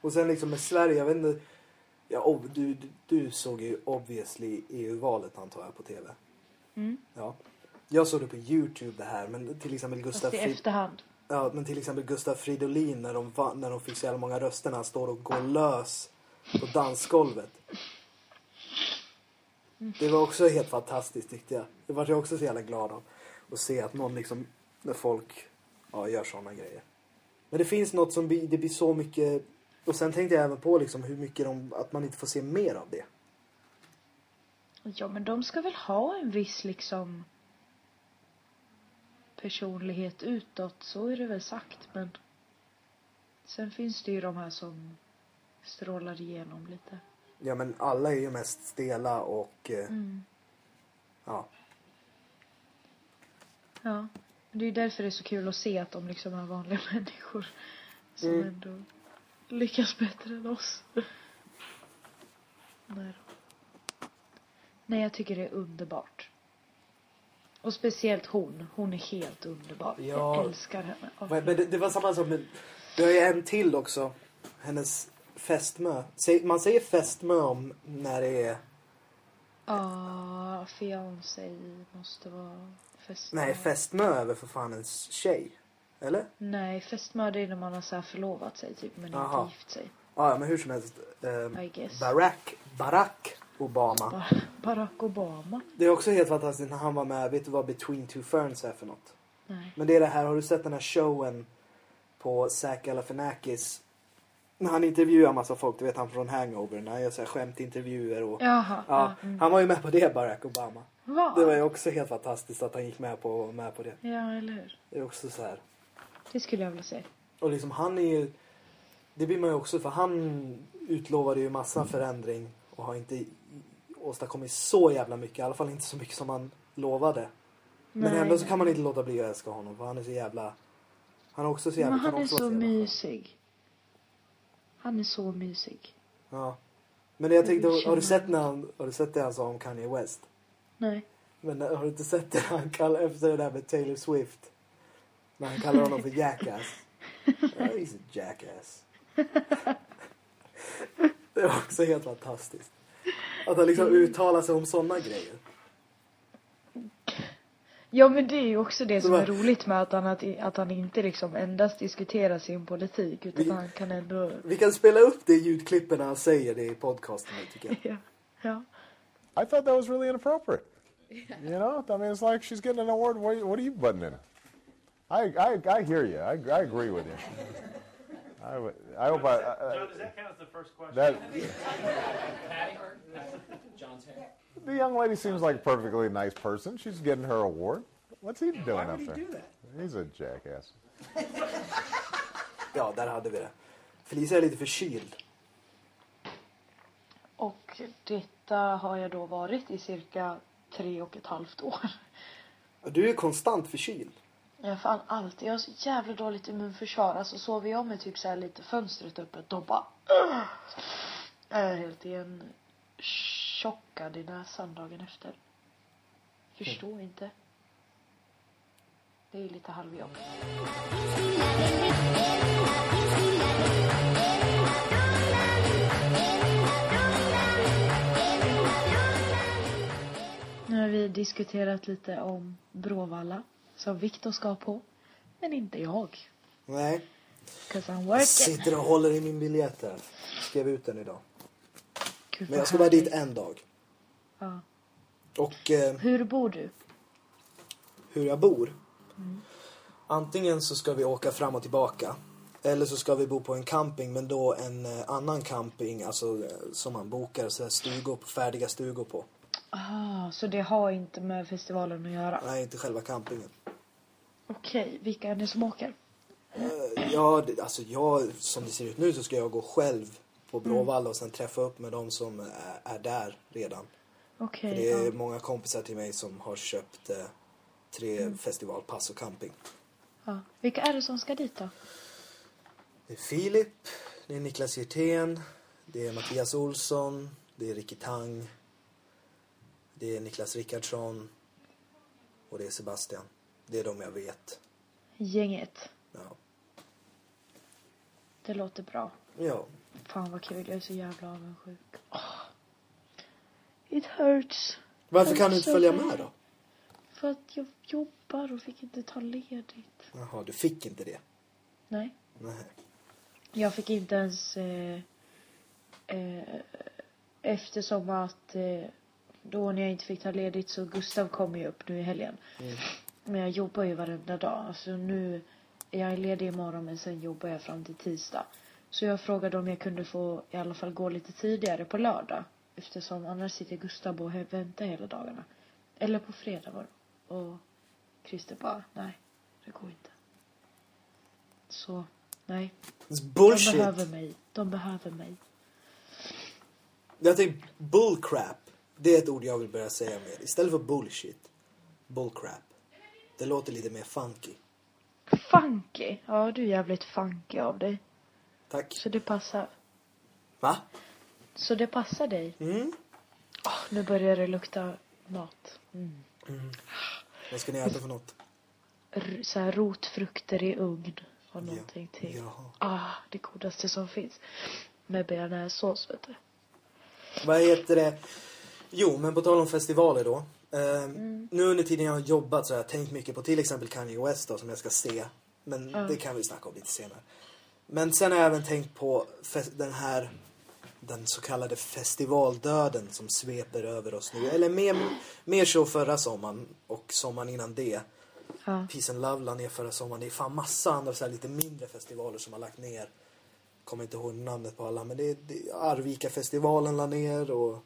Speaker 1: Och sen liksom med Sverige, jag vet inte. Ja, ob- du, du, du såg ju obviously EU-valet antar jag på TV.
Speaker 2: Mm.
Speaker 1: Ja. Jag såg det på Youtube det här, men till exempel Gustav,
Speaker 2: Fast i
Speaker 1: Frid-
Speaker 2: efterhand.
Speaker 1: ja, men till exempel Gustav Fridolin när de, vann, när de fick så jävla många röster när han står och går lös på dansgolvet. Det var också helt fantastiskt tyckte jag. Det var jag också så jävla glad av. Att se att någon liksom, när folk ja, gör sådana grejer. Men det finns något som blir, det blir så mycket... Och sen tänkte jag även på liksom hur mycket de, att man inte får se mer av det.
Speaker 2: Ja men de ska väl ha en viss liksom personlighet utåt. Så är det väl sagt men. Sen finns det ju de här som strålar igenom lite.
Speaker 1: Ja men alla är ju mest stela och... eh,
Speaker 2: Mm.
Speaker 1: Ja.
Speaker 2: Ja. Det är ju därför det är så kul att se att de liksom är vanliga människor. Som
Speaker 1: Mm.
Speaker 2: ändå lyckas bättre än oss. Nej då. Nej, jag tycker det är underbart. Och speciellt hon. Hon är helt underbar.
Speaker 1: Ja.
Speaker 2: Jag älskar henne. Åh,
Speaker 1: Men det, det var samma sak med... Du har ju en till också. Hennes fästmö. Säg- Man säger fästmö om när det är...
Speaker 2: Ja, fiancé måste vara fästmö.
Speaker 1: Nej, fästmö är väl för fan en tjej? Eller?
Speaker 2: Nej, fästmö det är när man har så här förlovat sig typ men
Speaker 1: Aha.
Speaker 2: inte gift sig.
Speaker 1: Ja, ja, men hur som helst. ehm,
Speaker 2: I guess.
Speaker 1: Barack, Barack Obama.
Speaker 2: Bara- Barack Obama.
Speaker 1: Det är också helt fantastiskt när han var med. Vet du vad Between Two Ferns är för något?
Speaker 2: Nej.
Speaker 1: Men det är det här, har du sett den här showen på Zac Galifianakis? När han intervjuar massa folk, du vet han från Hangover, när han gör så här skämtintervjuer och...
Speaker 2: Jaha. mm.
Speaker 1: Ja, han var ju med på det, Barack Obama.
Speaker 2: Vad?
Speaker 1: Det var ju också helt fantastiskt att han gick med på, med på det.
Speaker 2: Ja, eller hur?
Speaker 1: Det är också så här.
Speaker 2: Det skulle jag vilja se.
Speaker 1: Och liksom han är ju... Det blir man ju också för han utlovade ju massa förändring och har inte åstadkommit så jävla mycket. I alla fall inte så mycket som han lovade. Men
Speaker 2: Nej,
Speaker 1: ändå så
Speaker 2: nej.
Speaker 1: kan man inte låta bli att älska honom för han är så jävla... Han är också så jävla...
Speaker 2: Men han är
Speaker 1: också
Speaker 2: så
Speaker 1: vara jävla skön.
Speaker 2: mysig. Han är så mysig.
Speaker 1: Ja. Men jag tänkte,
Speaker 2: vill
Speaker 1: har du
Speaker 2: känna
Speaker 1: sett när han, har du sett det han sa om Kanye West?
Speaker 2: Nej.
Speaker 1: Men har du inte sett det han kallar, efter det där med Taylor Swift? När han kallar honom för jackass. Oh, he's a jackass. Det var också helt fantastiskt. Att han liksom uttalar sig om sådana grejer.
Speaker 2: Ja men det är ju också det som
Speaker 1: var-
Speaker 2: är roligt med att han, att, att han inte liksom endast diskuterar sin politik utan
Speaker 1: Vi-
Speaker 2: han kan ändå...
Speaker 1: Vi kan spela upp det ljudklippet när han säger det i podcasten nu, tycker jag.
Speaker 2: Ja. ja.
Speaker 3: I thought that was really inappropriate. You know, I mean, it's like she's getting an award. What are you, what are you buttoning? I, I, I hear you. I, I agree with you. I, would- I hope I, I,
Speaker 4: Joe, does that count as the first question?
Speaker 3: that
Speaker 5: Patty, Patty, John's hair.
Speaker 3: the young lady seems like a perfectly nice person. She's getting her award. What's he doing up there?
Speaker 6: that?
Speaker 3: He's a jackass.
Speaker 1: Ja, där hade vi det. Felicia är lite förkyld.
Speaker 2: Och detta har jag då varit i cirka tre och ett halvt år.
Speaker 1: Och Du är konstant förkyld.
Speaker 2: Jag har fan alltid, jag har så jävla dåligt immunförsvar. Alltså sover jag med typ så här lite fönstret öppet då bara... Jag är helt igen tjockad i näsan dagen efter. Förstår
Speaker 1: Mm.
Speaker 2: inte. Det är lite halvjobbigt. Nu har vi diskuterat lite om Bråvalla, som Viktor ska på. Men inte jag.
Speaker 1: Nej.
Speaker 2: 'Cause I'm
Speaker 1: Jag
Speaker 2: working.
Speaker 1: sitter och håller i min biljett här. Skrev ut den idag.
Speaker 2: Gud,
Speaker 1: Men
Speaker 2: vad
Speaker 1: jag ska bara dit
Speaker 2: härligt.
Speaker 1: en dag.
Speaker 2: Ja.
Speaker 1: Och eh,
Speaker 2: Hur bor du?
Speaker 1: hur jag bor. Antingen så ska vi åka fram och tillbaka. Eller så ska vi bo på en camping, men då en eh, annan camping, alltså eh, som man bokar så här stugor på, färdiga stugor på.
Speaker 2: Ah, så det har inte med festivalen att göra?
Speaker 1: Nej, inte själva campingen.
Speaker 2: Okej, vilka är det som åker?
Speaker 1: Eh, Ja, det- alltså jag, som det ser ut nu så ska jag gå själv på
Speaker 2: Mm.
Speaker 1: Bråvalla och sen träffa upp med de som är, är där redan.
Speaker 2: Okej,
Speaker 1: För det är
Speaker 2: ja.
Speaker 1: många kompisar till mig som har köpt eh, tre
Speaker 2: Mm.
Speaker 1: festivalpass och camping.
Speaker 2: ja. Vilka är det som ska dit då?
Speaker 1: Det är Filip, det är Niklas Hjertén, det är Mattias Olsson, det är Ricky Tang, det är Niklas Rickardsson och det är Sebastian. Det är de jag vet.
Speaker 2: Gänget.
Speaker 1: Ja.
Speaker 2: Det låter bra.
Speaker 1: ja.
Speaker 2: Fan vad kul, jag är så jävla avundsjuk. Ah. It hurts.
Speaker 1: Varför kan du inte följa med då?
Speaker 2: För att jag jobbar och fick inte ta ledigt.
Speaker 1: Jaha, du fick inte det.
Speaker 2: Nej.
Speaker 1: Nej.
Speaker 2: Jag fick inte ens... Eh, eh, eftersom att... Eh, då när jag inte fick ta ledigt så Gustav kom ju upp nu i helgen. Men jag jobbar ju varenda dag. Alltså nu... Jag är ledig imorgon men sen jobbar jag fram till tisdag. Så jag frågade om jag kunde få i alla fall gå lite tidigare på lördag. Eftersom annars sitter Gustav och he- väntar hela dagarna. Eller på fredag var det. Och Christer bara, nej, det går inte. Så, nej.
Speaker 1: It's
Speaker 2: De behöver
Speaker 1: bullshit.
Speaker 2: mig. De behöver mig.
Speaker 1: Jag tänkte bullcrap. Det är ett ord jag vill börja säga mer. Istället för bullshit. Bullcrap. Det låter lite mer funky.
Speaker 2: Funky. Ja, du är jävligt funky av dig.
Speaker 1: Tack.
Speaker 2: Så det passar.
Speaker 1: Va?
Speaker 2: Så det passar dig.
Speaker 1: Mm.
Speaker 2: Åh, nu börjar det lukta mat.
Speaker 1: Vad ska ni äta för något?
Speaker 2: R- så här rotfrukter i ugn och någonting till.
Speaker 1: Jaha.
Speaker 2: Ah, det godaste som finns. Med bearnaisesås, vet du.
Speaker 1: Vad heter det? Jo, men på tal om festivaler då. Eh, Nu under tiden jag har jobbat så har jag tänkt mycket på till exempel Kanye West då, som jag ska se. Men det kan vi snacka om lite senare. Men sen har jag även tänkt på fe- den här den så kallade festivaldöden som sveper över oss nu. Eller mer, mer så förra sommaren och sommaren innan det.
Speaker 2: Ja.
Speaker 1: Peace and Love la ner förra sommaren. Det är fan massa andra så här lite mindre festivaler som har lagt ner. Kommer inte ihåg namnet på alla men det är det- Arvika-festivalen la ner och...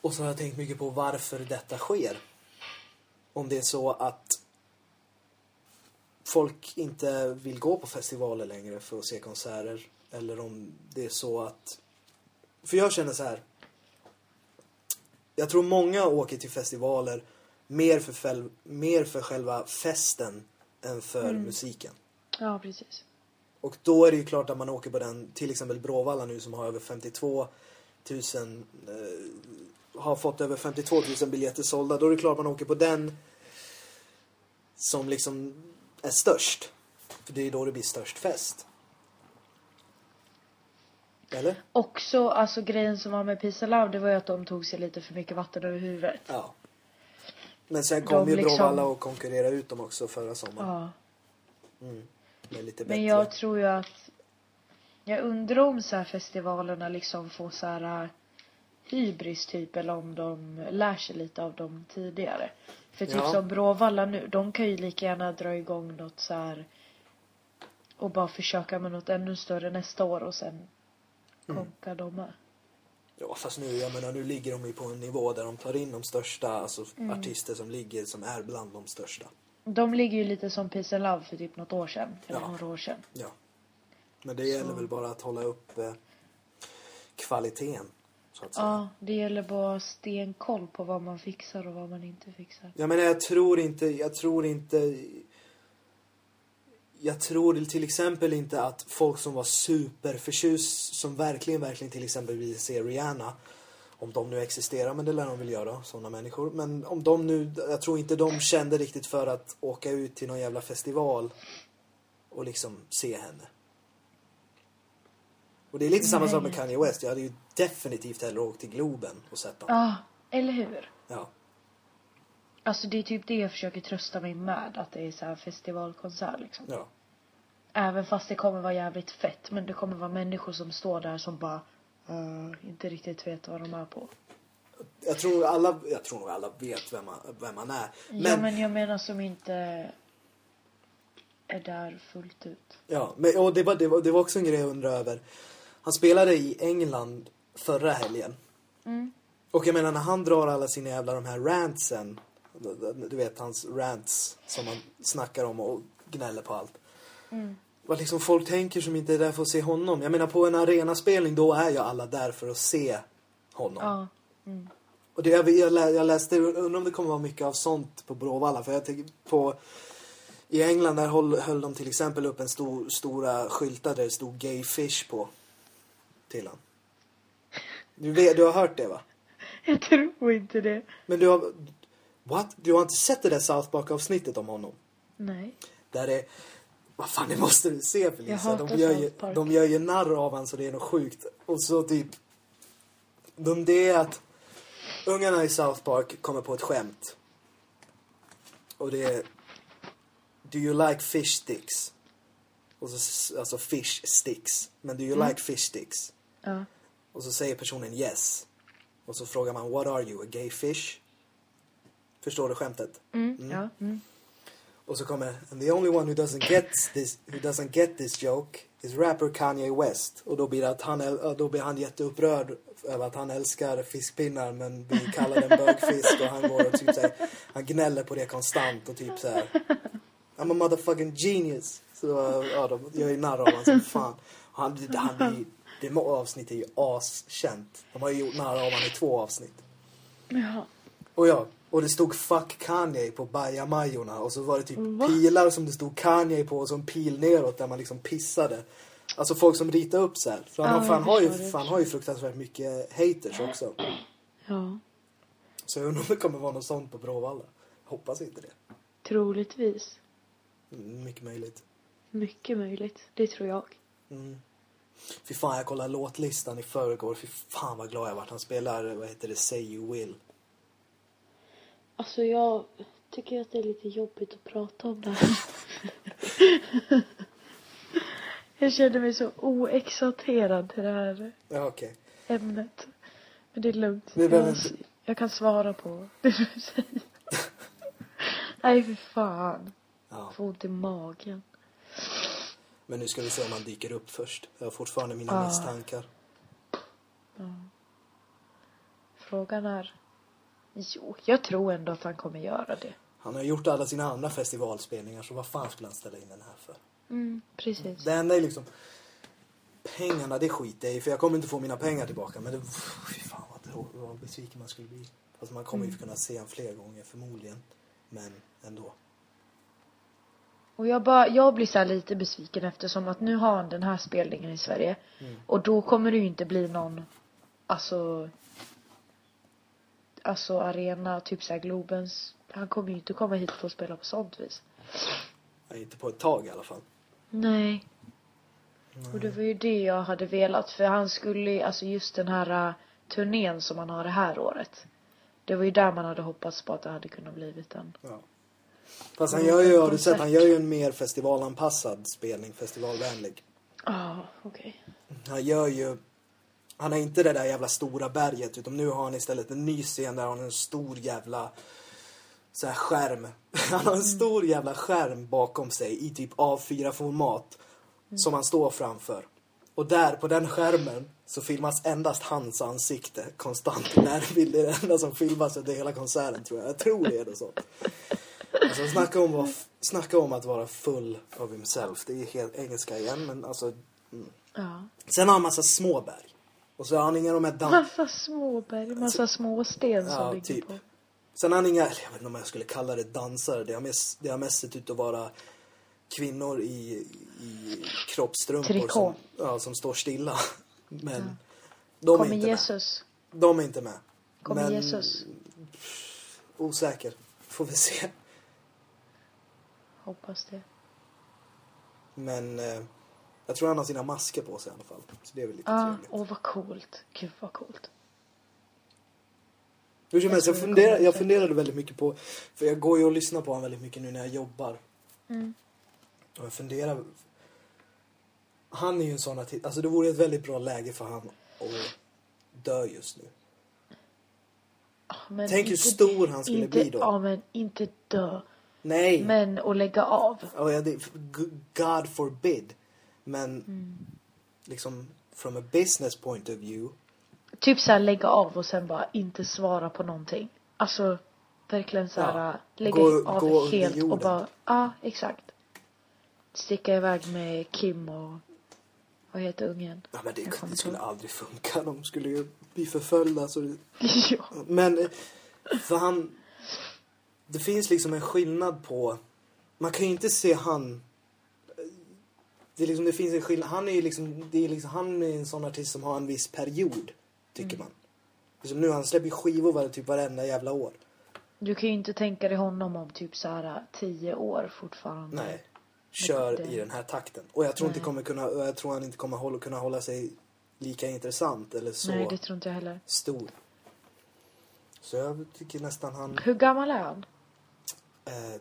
Speaker 1: Och så har jag tänkt mycket på varför detta sker. Om det är så att folk inte vill gå på festivaler längre för att se konserter. Eller om det är så att... För jag känner så här. Jag tror många åker till festivaler mer för, fel, mer för själva festen än för musiken.
Speaker 2: Ja, precis.
Speaker 1: Och då är det ju klart att man åker på den, till exempel Bråvalla nu som har över 52 000 eh, har fått över 52 000 biljetter sålda, då är det klart man åker på den som liksom är störst. För det är ju då det blir störst fest. Eller?
Speaker 2: Också, alltså grejen som var med Peace and Love, det var ju att de tog sig lite för mycket vatten över huvudet.
Speaker 1: Ja. Men sen kom
Speaker 2: De
Speaker 1: ju
Speaker 2: liksom-
Speaker 1: Bråvalla och konkurrerade ut dem också förra sommaren.
Speaker 2: Ja.
Speaker 1: Med lite bättre.
Speaker 2: Men jag tror ju att jag undrar om så här festivalerna liksom får så här äh, hybris typ eller om de lär sig lite av dem tidigare. För typ
Speaker 1: Ja.
Speaker 2: som Bråvalla nu, de kan ju lika gärna dra igång något så här och bara försöka med något ännu större nästa år och sen
Speaker 1: Mm.
Speaker 2: konka dem med.
Speaker 1: Ja, fast nu, jag menar, nu ligger de ju på en nivå där de tar in de största, alltså
Speaker 2: Mm.
Speaker 1: artister som ligger, som är bland de största.
Speaker 2: De ligger ju lite som Peace and Love för typ något år sedan, eller
Speaker 1: Ja.
Speaker 2: några år sedan.
Speaker 1: Ja. Men det gäller väl bara att hålla upp eh, kvaliteten, så att säga.
Speaker 2: Ja, det gäller bara stenkoll på vad man fixar och vad man inte fixar.
Speaker 1: Jag menar, jag tror inte, jag tror inte... Jag tror till exempel inte att folk som var superförtjust, som verkligen, verkligen till exempel vill se Rihanna, om de nu existerar, men det lär de väl göra, sådana människor. Men om de nu, jag tror inte de kände riktigt för att åka ut till någon jävla festival och liksom se henne. Och det är lite samma sak med Kanye West. Jag hade ju definitivt hellre åkt till Globen och sett honom.
Speaker 2: Ja, eller hur?
Speaker 1: Ja.
Speaker 2: Alltså det är typ det jag försöker trösta mig med, att det är så här festivalkonsert liksom.
Speaker 1: Ja.
Speaker 2: Även fast det kommer vara jävligt fett, men det kommer vara människor som står där som bara eh, inte riktigt vet vad de är på.
Speaker 1: Jag tror alla, jag tror nog alla vet vem man, vem man är. Men,
Speaker 2: Ja men jag menar som inte är där fullt ut.
Speaker 1: ja, men och det, var, det, var, det var också en grej jag undrade över. Han spelade i England förra helgen. Och jag menar när han drar alla sina jävla de här rantsen. Du vet hans rants som han snackar om och gnäller på allt. Vad liksom folk tänker som inte är där för att se honom. Jag menar på en arenaspelning då är ju alla där för att se honom.
Speaker 2: Ja.
Speaker 1: Och det, jag, jag, lä- jag läste, undrar om det kommer vara mycket av sånt på Bråvalla. För jag tänker på, i England där höll, höll de till exempel upp en stor, stora skyltar där det stod gay fish på. Till han. Du, vet, du har hört det va?
Speaker 2: Jag tror inte det.
Speaker 1: Men du har, what? Du har inte sett det där South Park avsnittet om honom?
Speaker 2: Nej.
Speaker 1: Där det... Vad fan, det måste du se Felicia.
Speaker 2: Jag
Speaker 1: De
Speaker 2: hatar
Speaker 1: gör,
Speaker 2: South
Speaker 1: ju,
Speaker 2: Park.
Speaker 1: de gör ju narr av honom så det är något sjukt. Och så typ... De, det är att ungarna i South Park kommer på ett skämt. Och det är... Do you like fish sticks? Och så, s- alltså fish sticks. Men do you
Speaker 2: Mm.
Speaker 1: like fish sticks?
Speaker 2: Ja.
Speaker 1: Och så säger personen yes. Och så frågar man what are you, a gay fish? Förstår du skämtet?
Speaker 2: Mm. Ja. Mm.
Speaker 1: Och så kommer And the only one who doesn't get this, who doesn't get this joke is rapper Kanye West. Och då blir, det att han, äl- ja, då blir han jätteupprörd över att han älskar fiskpinnar men blir kallad en bögfisk och han går och typ såhär, han gnäller på det konstant och typ så här. I'm a motherfucking genius. Så ja, de gör ju narr av honom som fan. Och Han, han blir, ju- det må- avsnittet är ju askänt. De har ju gjort narr av honom i två avsnitt.
Speaker 2: Jaha.
Speaker 1: Och ja, och det stod 'Fuck Kanye' på bajamajorna och så var det typ pilar som det stod Kanye på och så en pil neråt där man liksom pissade. Alltså folk som ritade upp så här. För han,
Speaker 2: Ja,
Speaker 1: för han, har, ju,
Speaker 2: jag förstår, jag
Speaker 1: för han har ju fruktansvärt mycket haters också.
Speaker 2: Ja.
Speaker 1: Så jag undrar om det kommer vara något sånt på Bråvalla. Hoppas inte det.
Speaker 2: Troligtvis.
Speaker 1: Mm, Mycket möjligt. Mm.
Speaker 2: Mycket möjligt. Det tror jag.
Speaker 1: Fy fan, jag kollade låtlistan i förrgår. Fy fan vad glad jag vart. Han spelar, vad heter det, Say You Will.
Speaker 2: Alltså jag tycker att det är lite jobbigt att prata om det här. jag känner mig så oexalterad till det här
Speaker 1: Ja, okej.
Speaker 2: ämnet. Men det är lugnt.
Speaker 1: Det är
Speaker 2: jag,
Speaker 1: väldigt-
Speaker 2: jag kan svara på det du säger. Nej för fan.
Speaker 1: Ja.
Speaker 2: Får ont i magen.
Speaker 1: Men nu ska vi se om han dyker upp först. Jag har fortfarande mina
Speaker 2: Ja.
Speaker 1: misstankar.
Speaker 2: Frågan är... Jo, jag tror ändå att han kommer göra det.
Speaker 1: Han har gjort alla sina andra festivalspelningar så vad fan skulle han ställa in den här för?
Speaker 2: Mm, precis.
Speaker 1: Det enda är liksom pengarna det skiter jag i för jag kommer inte få mina pengar tillbaka men det, fy fan vad, trå- vad besviken man skulle bli. Fast man kommer ju kunna se honom fler gånger förmodligen. Men ändå.
Speaker 2: Och jag, bara, jag blir så här lite besviken eftersom att nu har han den här spelningen i
Speaker 1: Mm.
Speaker 2: Sverige. Och då kommer det ju inte bli någon, alltså alltså arena, typ såhär Globens. Han kommer ju inte komma hit för att spela på sånt vis.
Speaker 1: Ja, inte på ett tag i alla fall.
Speaker 2: Nej. Och det var ju det jag hade velat för han skulle, alltså just den här eh, turnén som han har det här året. Det var ju där man hade hoppats på att det hade kunnat blivit en.
Speaker 1: Ja. Fast han gör ju, har du sett, han gör ju en mer festivalanpassad spelning, festivalvänlig.
Speaker 2: Ja, okej.
Speaker 1: Han gör ju... Han har inte det där jävla stora berget utan nu har han istället en ny scen där han har en stor jävla så här skärm. Han har en stor jävla skärm bakom sig i typ A4-format som han står framför. Och där på den skärmen så filmas endast hans ansikte konstant. Närbild är det enda som filmas under hela konserten tror jag. Jag tror det är det så. Alltså snacka om, vad- snacka om att vara full of himself. Det är helt engelska igen men alltså
Speaker 2: Ja.
Speaker 1: Sen har han massa små berg. Och så har han inga de här damm...
Speaker 2: Massa småberg, massa små sten som
Speaker 1: Ja,
Speaker 2: ligger
Speaker 1: typ.
Speaker 2: på.
Speaker 1: Sen har han inga, eller jag vet inte om jag skulle kalla det dansare. Det har mest, det har mest sett ut att vara kvinnor i, i kroppstrumpor
Speaker 2: Trikå.
Speaker 1: som, ja, som står stilla. Men de är
Speaker 2: Kommer
Speaker 1: inte
Speaker 2: Jesus?
Speaker 1: med. De är inte med.
Speaker 2: Kommer
Speaker 1: Men
Speaker 2: Jesus?
Speaker 1: osäker. Får vi se.
Speaker 2: Hoppas det.
Speaker 1: Men eh, jag tror han har sina masker på sig i alla fall. Så det är väl lite
Speaker 2: Ja,
Speaker 1: trevligt.
Speaker 2: Ah, åh vad coolt. Gud vad coolt.
Speaker 1: Hur som helst,
Speaker 2: tror
Speaker 1: jag,
Speaker 2: det
Speaker 1: funder,
Speaker 2: kommer
Speaker 1: jag
Speaker 2: sig.
Speaker 1: funderade väldigt mycket på... För jag går ju och lyssnar på honom väldigt mycket nu när jag jobbar.
Speaker 2: Mm.
Speaker 1: Och jag funderar... Han är ju en sån artist... Alltså det vore ett väldigt bra läge för han att dö just nu.
Speaker 2: Ah, Men
Speaker 1: Tänk hur
Speaker 2: inte-
Speaker 1: stor han skulle
Speaker 2: inte,
Speaker 1: bli då.
Speaker 2: Ja men inte dö.
Speaker 1: Nej!
Speaker 2: Men att lägga av.
Speaker 1: Ja, det, g- God forbid. Men
Speaker 2: Mm.
Speaker 1: liksom from a business point of view.
Speaker 2: Typ såhär lägga av och sen bara inte svara på någonting. Alltså verkligen såhär
Speaker 1: Ja.
Speaker 2: lägga
Speaker 1: Gå-
Speaker 2: av
Speaker 1: gå under
Speaker 2: helt och
Speaker 1: jorden.
Speaker 2: bara, ja exakt. Sticka iväg med Kim och vad heter ungen?
Speaker 1: Ja, men det,
Speaker 2: Jag kommer
Speaker 1: det
Speaker 2: inte
Speaker 1: skulle
Speaker 2: ihåg.
Speaker 1: aldrig funka. De skulle ju bli förföljda. Så det,
Speaker 2: ja.
Speaker 1: Men eh, för han... Det finns liksom en skillnad på... Man kan ju inte se han... eh, Det, är liksom, det finns en skillnad. Han är ju liksom, det är liksom... Han är en sån artist som har en viss period, tycker
Speaker 2: Mm.
Speaker 1: man. Liksom nu, han släpper ju skivor var, typ varenda jävla år.
Speaker 2: Du kan ju inte tänka dig honom om typ såhär tio år fortfarande.
Speaker 1: Nej. Kör
Speaker 2: Det-
Speaker 1: i den här takten. Och jag tror, inte
Speaker 2: Nej.
Speaker 1: kommer kunna, jag tror han inte kommer hålla, kunna hålla sig lika intressant eller så
Speaker 2: Nej det tror inte jag heller.
Speaker 1: stor. Så jag tycker nästan han...
Speaker 2: Hur gammal är han?
Speaker 1: Eh,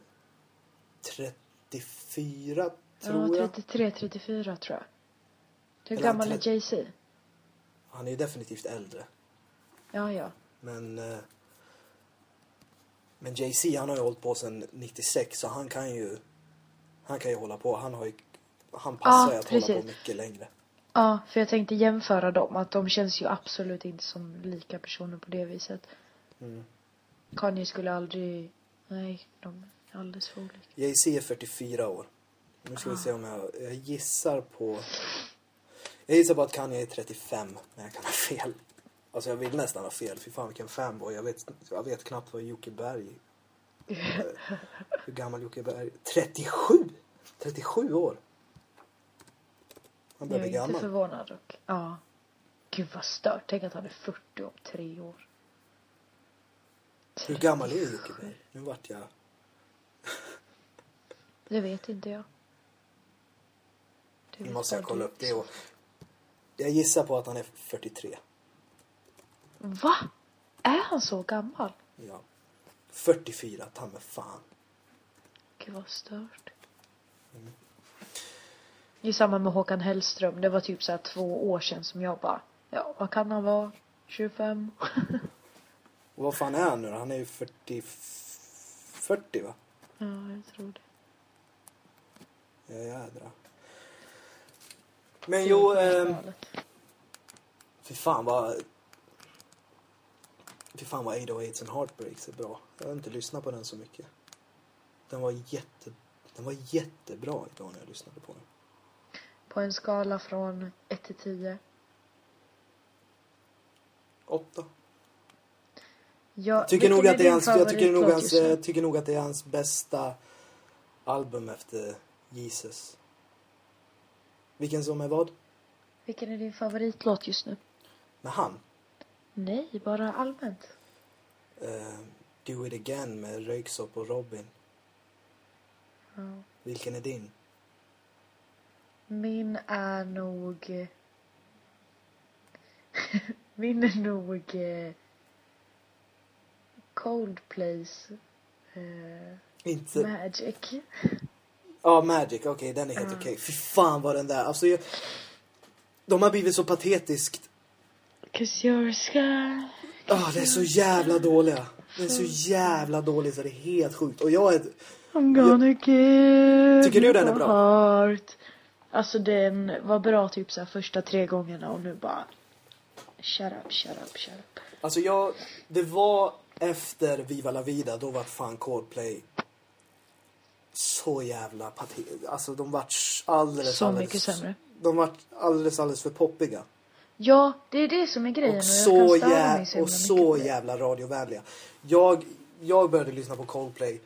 Speaker 1: 34 tror
Speaker 2: Ja,
Speaker 1: jag.
Speaker 2: 33, 34 tror jag. Hur
Speaker 1: Eller han
Speaker 2: gammal är
Speaker 1: tre-
Speaker 2: Jay-Z?
Speaker 1: Han är ju definitivt äldre.
Speaker 2: Ja, ja.
Speaker 1: Men, eh, men Jay-Z han har ju hållit på sedan 96 så han kan ju, han kan ju hålla på. Han, har ju, han passar
Speaker 2: Ja,
Speaker 1: ju att hålla
Speaker 2: precis.
Speaker 1: på mycket längre.
Speaker 2: Ja, för jag tänkte jämföra dem. Att de känns ju absolut inte som lika personer på det viset.
Speaker 1: Mm.
Speaker 2: Kanye skulle aldrig... Nej, de är alldeles för olika.
Speaker 1: Jay-Z är 44 år. Nu ska vi se om jag, jag gissar på... Jag gissar på att Kanye är 35, men jag kan ha fel. Alltså jag vill nästan ha fel, fy fan vilken fanboy. Jag vet, jag vet knappt vad Jocke Berg... eh, Hur gammal Jocke Berg 37! 37 år! Han
Speaker 2: Jag
Speaker 1: börjar
Speaker 2: är
Speaker 1: bli
Speaker 2: inte
Speaker 1: gammal.
Speaker 2: förvånad dock. Ja. Gud vad stört. Tänk att han är 40 om tre år.
Speaker 1: Hur gammal är Jocke Berg? Nu vart jag...
Speaker 2: Det vet inte jag. Det
Speaker 1: Nu
Speaker 2: vet
Speaker 1: måste jag
Speaker 2: bara
Speaker 1: kolla
Speaker 2: du.
Speaker 1: upp det. Och... Jag gissar på att han är 43.
Speaker 2: Va? Är han så gammal?
Speaker 1: Ja. 44, ta mig fan.
Speaker 2: Gud vad stört. Det är samma med Håkan Hellström. Det var typ så här två år sedan som jag bara, ja vad kan han vara? 25?
Speaker 1: Och vad fan är han nu då? Han är ju 40... 40 va?
Speaker 2: ja, jag tror det.
Speaker 1: Ja jädrar. Men jo, ehm, fy fan vad... Fy fan vad 808s and Heartbreaks är bra. Jag har inte lyssnat på den så mycket. Den var jätte... Den var jättebra idag när jag lyssnade på den.
Speaker 2: På en skala från 1 till 10.
Speaker 1: Åtta.
Speaker 2: Jag
Speaker 1: Tycker nog
Speaker 2: vilken
Speaker 1: att det är
Speaker 2: din
Speaker 1: hans, jag tycker nog,
Speaker 2: favoritlåt
Speaker 1: hans, eh,
Speaker 2: just nu?
Speaker 1: jag tycker nog att det är hans bästa album efter Jesus. Vilken som är vad?
Speaker 2: Vilken är din favoritlåt just nu?
Speaker 1: Med han?
Speaker 2: Nej, bara allmänt.
Speaker 1: eh, Do It Again med Röyksopp och Robin.
Speaker 2: Ja.
Speaker 1: Vilken är din?
Speaker 2: Min är nog... Min är nog eh, Coldplays eh,
Speaker 1: Inte...
Speaker 2: Magic.
Speaker 1: Ja, Magic. Okej, den är helt
Speaker 2: Mm.
Speaker 1: okej. Fy fan vad den där... Alltså, jag... De har blivit så patetiskt...
Speaker 2: Cause you're sky.
Speaker 1: Ah, det är så jävla dåliga. Det är så
Speaker 2: Mm.
Speaker 1: jävla dåligt så det är helt sjukt. Och jag är...
Speaker 2: I'm gonna give
Speaker 1: Tycker du
Speaker 2: you
Speaker 1: den är
Speaker 2: my
Speaker 1: bra?
Speaker 2: Heart. Alltså den var bra typ så här första tre gångerna och nu bara shut up, shut up, shut up.
Speaker 1: Alltså jag... Det var efter Viva La Vida, då vart fan Coldplay så jävla patetiskt. Alltså de vart alldeles,
Speaker 2: Så
Speaker 1: alldeles...
Speaker 2: mycket sämre.
Speaker 1: De vart alldeles, alldeles för poppiga.
Speaker 2: Ja, det är det som är grejen
Speaker 1: Och
Speaker 2: jag
Speaker 1: så,
Speaker 2: kan störa mig
Speaker 1: jä-
Speaker 2: himla
Speaker 1: och
Speaker 2: mycket
Speaker 1: så
Speaker 2: på det.
Speaker 1: jävla radiovänliga. Jag, jag började lyssna på Coldplay.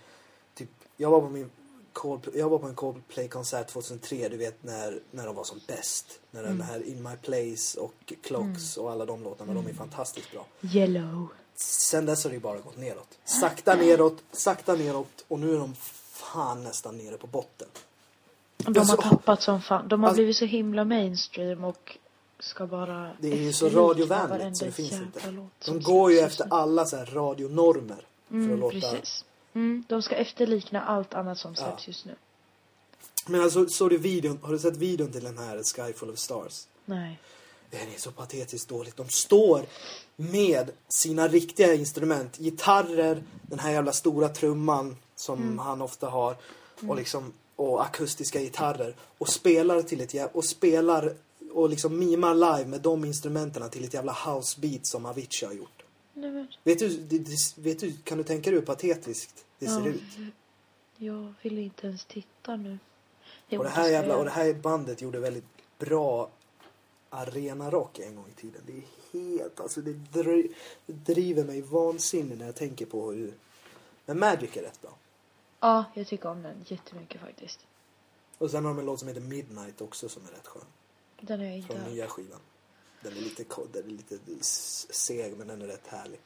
Speaker 1: Typ, jag, var på min Coldplay, jag var på en Coldplay-konsert 2003, du vet när, när de var som bäst. När den
Speaker 2: Mm.
Speaker 1: här In My Place och Clocks och alla de låtarna, de
Speaker 2: Mm.
Speaker 1: är fantastiskt bra.
Speaker 2: Yellow.
Speaker 1: Sen dess har det ju bara gått neråt. Sakta neråt, sakta neråt och nu är de fan nästan nere på botten.
Speaker 2: De
Speaker 1: Alltså-
Speaker 2: har tappat som fan. De har
Speaker 1: Alltså-
Speaker 2: blivit så himla mainstream och ska bara
Speaker 1: Det är ju så
Speaker 2: efterlikna
Speaker 1: radiovänligt så
Speaker 2: varenda
Speaker 1: det finns
Speaker 2: jävla
Speaker 1: inte.
Speaker 2: låt
Speaker 1: De
Speaker 2: som
Speaker 1: går ju
Speaker 2: släpps
Speaker 1: efter
Speaker 2: just nu.
Speaker 1: alla så här radionormer. För att
Speaker 2: Mm,
Speaker 1: låta
Speaker 2: precis. Mm, de ska efterlikna allt annat som släpps just nu.
Speaker 1: Men alltså, såg du videon, har du sett videon till den här Sky Full of Stars?
Speaker 2: Nej.
Speaker 1: Den är så patetiskt dåligt. De står med sina riktiga instrument, gitarrer, den här jävla stora trumman som han ofta har och liksom och akustiska gitarrer och spelar till ett jävla, och spelar och liksom mimar live med de instrumenten till ett jävla housebeat som Avicii har gjort.
Speaker 2: Nej men,
Speaker 1: Vet du, det, det, vet du, kan du tänka dig hur patetiskt det ser
Speaker 2: Ja.
Speaker 1: ut?
Speaker 2: jag vill inte ens titta nu. Jag
Speaker 1: Och det
Speaker 2: måste
Speaker 1: här jävla,
Speaker 2: göra.
Speaker 1: och det här bandet gjorde väldigt bra arenarock en gång i tiden. Det är helt, alltså det, dri, det driver mig vansinnig när jag tänker på hur... Men Magic är rätt bra.
Speaker 2: Ja, jag tycker om den jättemycket faktiskt.
Speaker 1: Och sen har de en låt som heter Midnight också som är rätt skön.
Speaker 2: Den har jag inte
Speaker 1: Från
Speaker 2: hört.
Speaker 1: nya skivan. Den är lite, ko- den är lite s- seg men den är rätt härlig.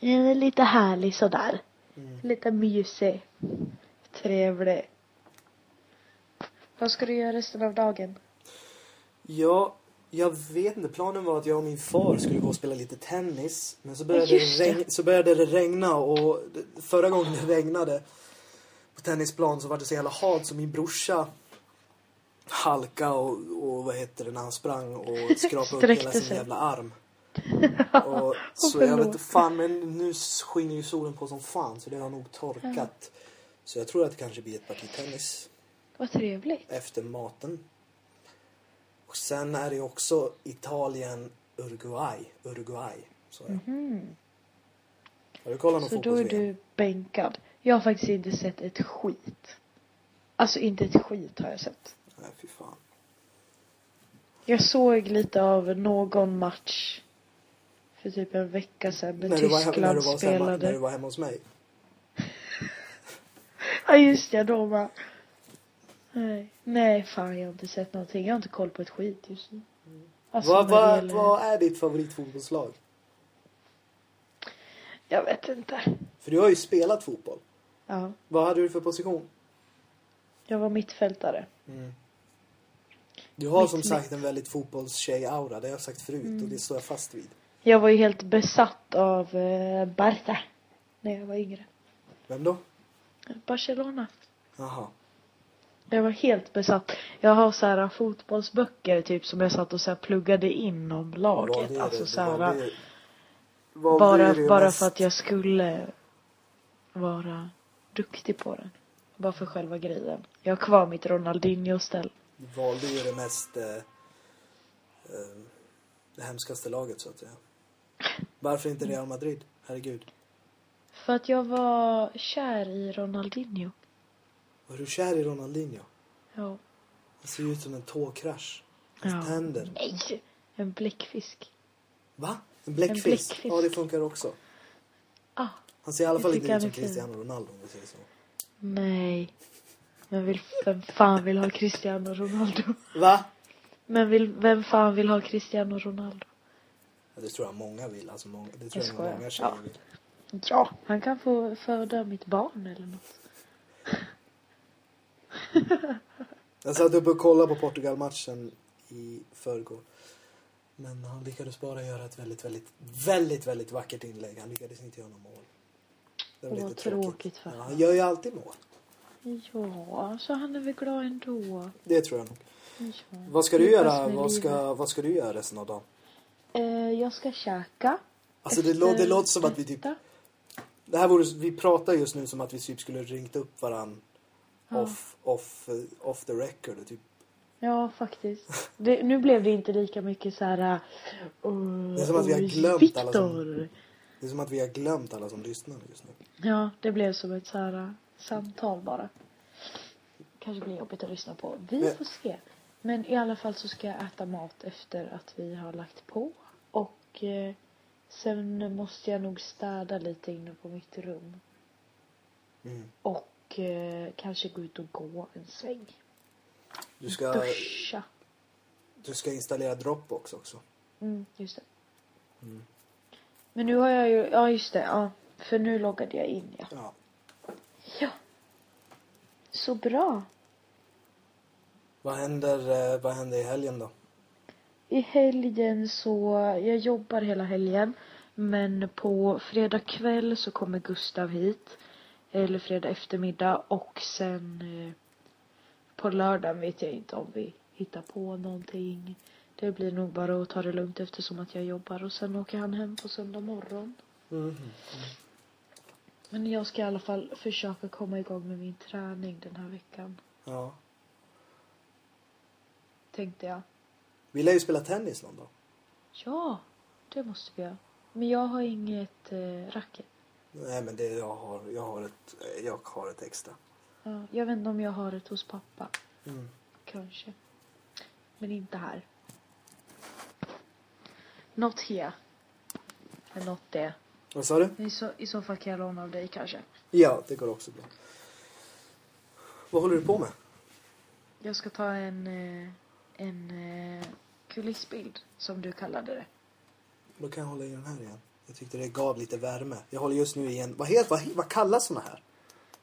Speaker 2: Den är lite härlig sådär.
Speaker 1: Mm.
Speaker 2: Lite mysig. Trevlig. Vad ska du göra resten av dagen?
Speaker 1: Ja, jag vet inte. Planen var att jag och min far skulle gå och spela lite tennis. Men så började,
Speaker 2: Ja,
Speaker 1: det,
Speaker 2: just det.
Speaker 1: regn- så började det regna och det- förra gången det regnade på tennisplan så var det så jävla halt så min brorsa halka och, och vad heter det när han sprang och skrapade upp hela
Speaker 2: Sträckte
Speaker 1: sin
Speaker 2: sig.
Speaker 1: jävla arm. Och, så jag vet inte fan men nu skiner ju solen på som fan så det har nog torkat. Så jag tror att det kanske blir ett parti tennis
Speaker 2: Vad trevligt.
Speaker 1: efter maten. Och sen är det ju också Italien, Uruguay. Uruguay, så är det. Har du kollat någon
Speaker 2: Mhm. Så då är
Speaker 1: fotbolls du...
Speaker 2: du bänkad. Jag har faktiskt inte sett ett skit. Alltså inte ett skit har jag sett.
Speaker 1: Nej, fy fan.
Speaker 2: Jag såg lite av någon match för typ en vecka sedan när,
Speaker 1: När du, var, he- när,
Speaker 2: Tyskland
Speaker 1: du var hos hemma,
Speaker 2: spelade.
Speaker 1: när du var hemma hos mig.
Speaker 2: Ja just det, då var... Nej. Nej, fan jag har inte sett någonting. Jag har inte koll på ett skit just nu.
Speaker 1: Mm.
Speaker 2: Alltså,
Speaker 1: Vad
Speaker 2: när det
Speaker 1: vad-
Speaker 2: gäller-
Speaker 1: vad är ditt favoritfotbollslag?
Speaker 2: Jag vet inte.
Speaker 1: För du har ju spelat fotboll.
Speaker 2: Ja.
Speaker 1: Vad hade du för position?
Speaker 2: Jag var mittfältare.
Speaker 1: Du har
Speaker 2: Mitt-
Speaker 1: som
Speaker 2: Mm.
Speaker 1: sagt en väldigt fotbollstjej-aura. Det har jag sagt förut och det står jag fast vid.
Speaker 2: Jag var ju helt besatt av eh, Barca. När jag var yngre.
Speaker 1: Vem då?
Speaker 2: Barcelona.
Speaker 1: Jaha.
Speaker 2: Jag var helt besatt. Jag har så här fotbollsböcker typ som jag satt och så här pluggade in om laget. alltså så här, bara, bara för att jag skulle vara duktig på det. Bara för själva grejen. Jag har kvar mitt Ronaldinho-ställ.
Speaker 1: Du valde ju det mest... Eh, eh, det hemskaste laget, så att säga. Varför inte Real Madrid? Herregud.
Speaker 2: För att jag var kär i Ronaldinho.
Speaker 1: Var du kär i Ronaldinho?
Speaker 2: Ja.
Speaker 1: Han ser ju ut som en tåkrasch. Hans
Speaker 2: Ja.
Speaker 1: tänder.
Speaker 2: Nej! En bläckfisk.
Speaker 1: Va? En bläckfisk?
Speaker 2: En bläckfisk.
Speaker 1: Ja, det funkar också.
Speaker 2: Ah,
Speaker 1: Han ser i alla
Speaker 2: Jag
Speaker 1: fall
Speaker 2: tycker
Speaker 1: inte ut som
Speaker 2: han är fin.
Speaker 1: Cristiano Ronaldo, om vi säger så.
Speaker 2: nej. Men vill, vem fan vill ha Cristiano Ronaldo?
Speaker 1: Va?
Speaker 2: Men vill, vem fan vill ha Cristiano Ronaldo?
Speaker 1: Ja, Det tror jag många vill. Alltså många, det tror
Speaker 2: Jag
Speaker 1: jag, många
Speaker 2: skojar.
Speaker 1: tjejer
Speaker 2: Ja.
Speaker 1: vill.
Speaker 2: Ja, han kan få föda mitt barn eller något.
Speaker 1: Jag satt uppe och kollade på Portugal-matchen i förrgår. Men han lyckades bara göra ett väldigt, väldigt, väldigt, väldigt vackert inlägg. Han lyckades inte göra något mål. Det
Speaker 2: Åh, vad tråkigt för
Speaker 1: ja,
Speaker 2: honom.
Speaker 1: Han gör ju alltid mål.
Speaker 2: Ja, så han är väl glad ändå.
Speaker 1: Det tror jag nog.
Speaker 2: Ja.
Speaker 1: Vad ska du
Speaker 2: Lyckas
Speaker 1: göra?
Speaker 2: med
Speaker 1: Vad
Speaker 2: livet.
Speaker 1: ska, vad ska du göra resten av dagen?
Speaker 2: Eh, jag ska käka.
Speaker 1: Alltså det, lå- det
Speaker 2: Efter
Speaker 1: låter som att vi typ...
Speaker 2: detta.
Speaker 1: Det här vore, vi pratar just nu som att vi typ skulle ringt upp varann
Speaker 2: Ja.
Speaker 1: off, off, eh, off the record. och Typ.
Speaker 2: Ja, faktiskt. Det, nu blev det inte lika mycket så här... Uh,
Speaker 1: Det är som att vi har glömt alla som-
Speaker 2: Viktor!
Speaker 1: Det är som att vi har glömt alla som lyssnar just nu.
Speaker 2: Ja, det blev som ett så här uh, samtal bara. Kanske blir jobbigt att lyssna på. Vi
Speaker 1: Men-
Speaker 2: får se. Men i alla fall så ska jag äta mat efter att vi har lagt på. Och eh, sen måste jag nog städa lite inne på mitt rum.
Speaker 1: Mm.
Speaker 2: Och eh, kanske gå ut och gå en sväng.
Speaker 1: Du ska,
Speaker 2: Duscha.
Speaker 1: du ska installera Dropbox också.
Speaker 2: Mm, just det. Men nu har jag ju, ja just det, ja. För nu loggade jag in ja.
Speaker 1: Ja.
Speaker 2: Ja. Så bra.
Speaker 1: Vad, händer, eh, vad händer i helgen då?
Speaker 2: I helgen så, jag jobbar hela helgen. Men på fredag kväll så kommer Gustav hit. Eller fredag eftermiddag och sen eh, på lördagen vet jag inte om vi hittar på någonting. Det blir nog bara att ta det lugnt eftersom att jag jobbar och sen åker han hem på söndag morgon. Men jag ska i alla fall försöka komma igång med min träning den här veckan.
Speaker 1: Ja.
Speaker 2: Tänkte jag.
Speaker 1: Vi lär ju spela tennis någon dag.
Speaker 2: Ja, det måste vi göra. Men jag har inget eh, racket.
Speaker 1: Nej men det, jag, har, jag, har ett, jag har ett extra.
Speaker 2: Ja, jag vet inte om jag har det hos pappa.
Speaker 1: Mm.
Speaker 2: Kanske. Men inte här. Not here. Men not there.
Speaker 1: Vad sa du?
Speaker 2: Men I så, I så fall kan jag låna av dig kanske.
Speaker 1: Ja, det går också bra. Vad håller du på med?
Speaker 2: Jag ska ta en, eh, en eh, kulissbild, som du kallade det.
Speaker 1: Då kan jag hålla i den här igen. Jag tyckte det gav lite värme. Jag håller just nu i en... Vad, heter, vad, vad kallas såna här?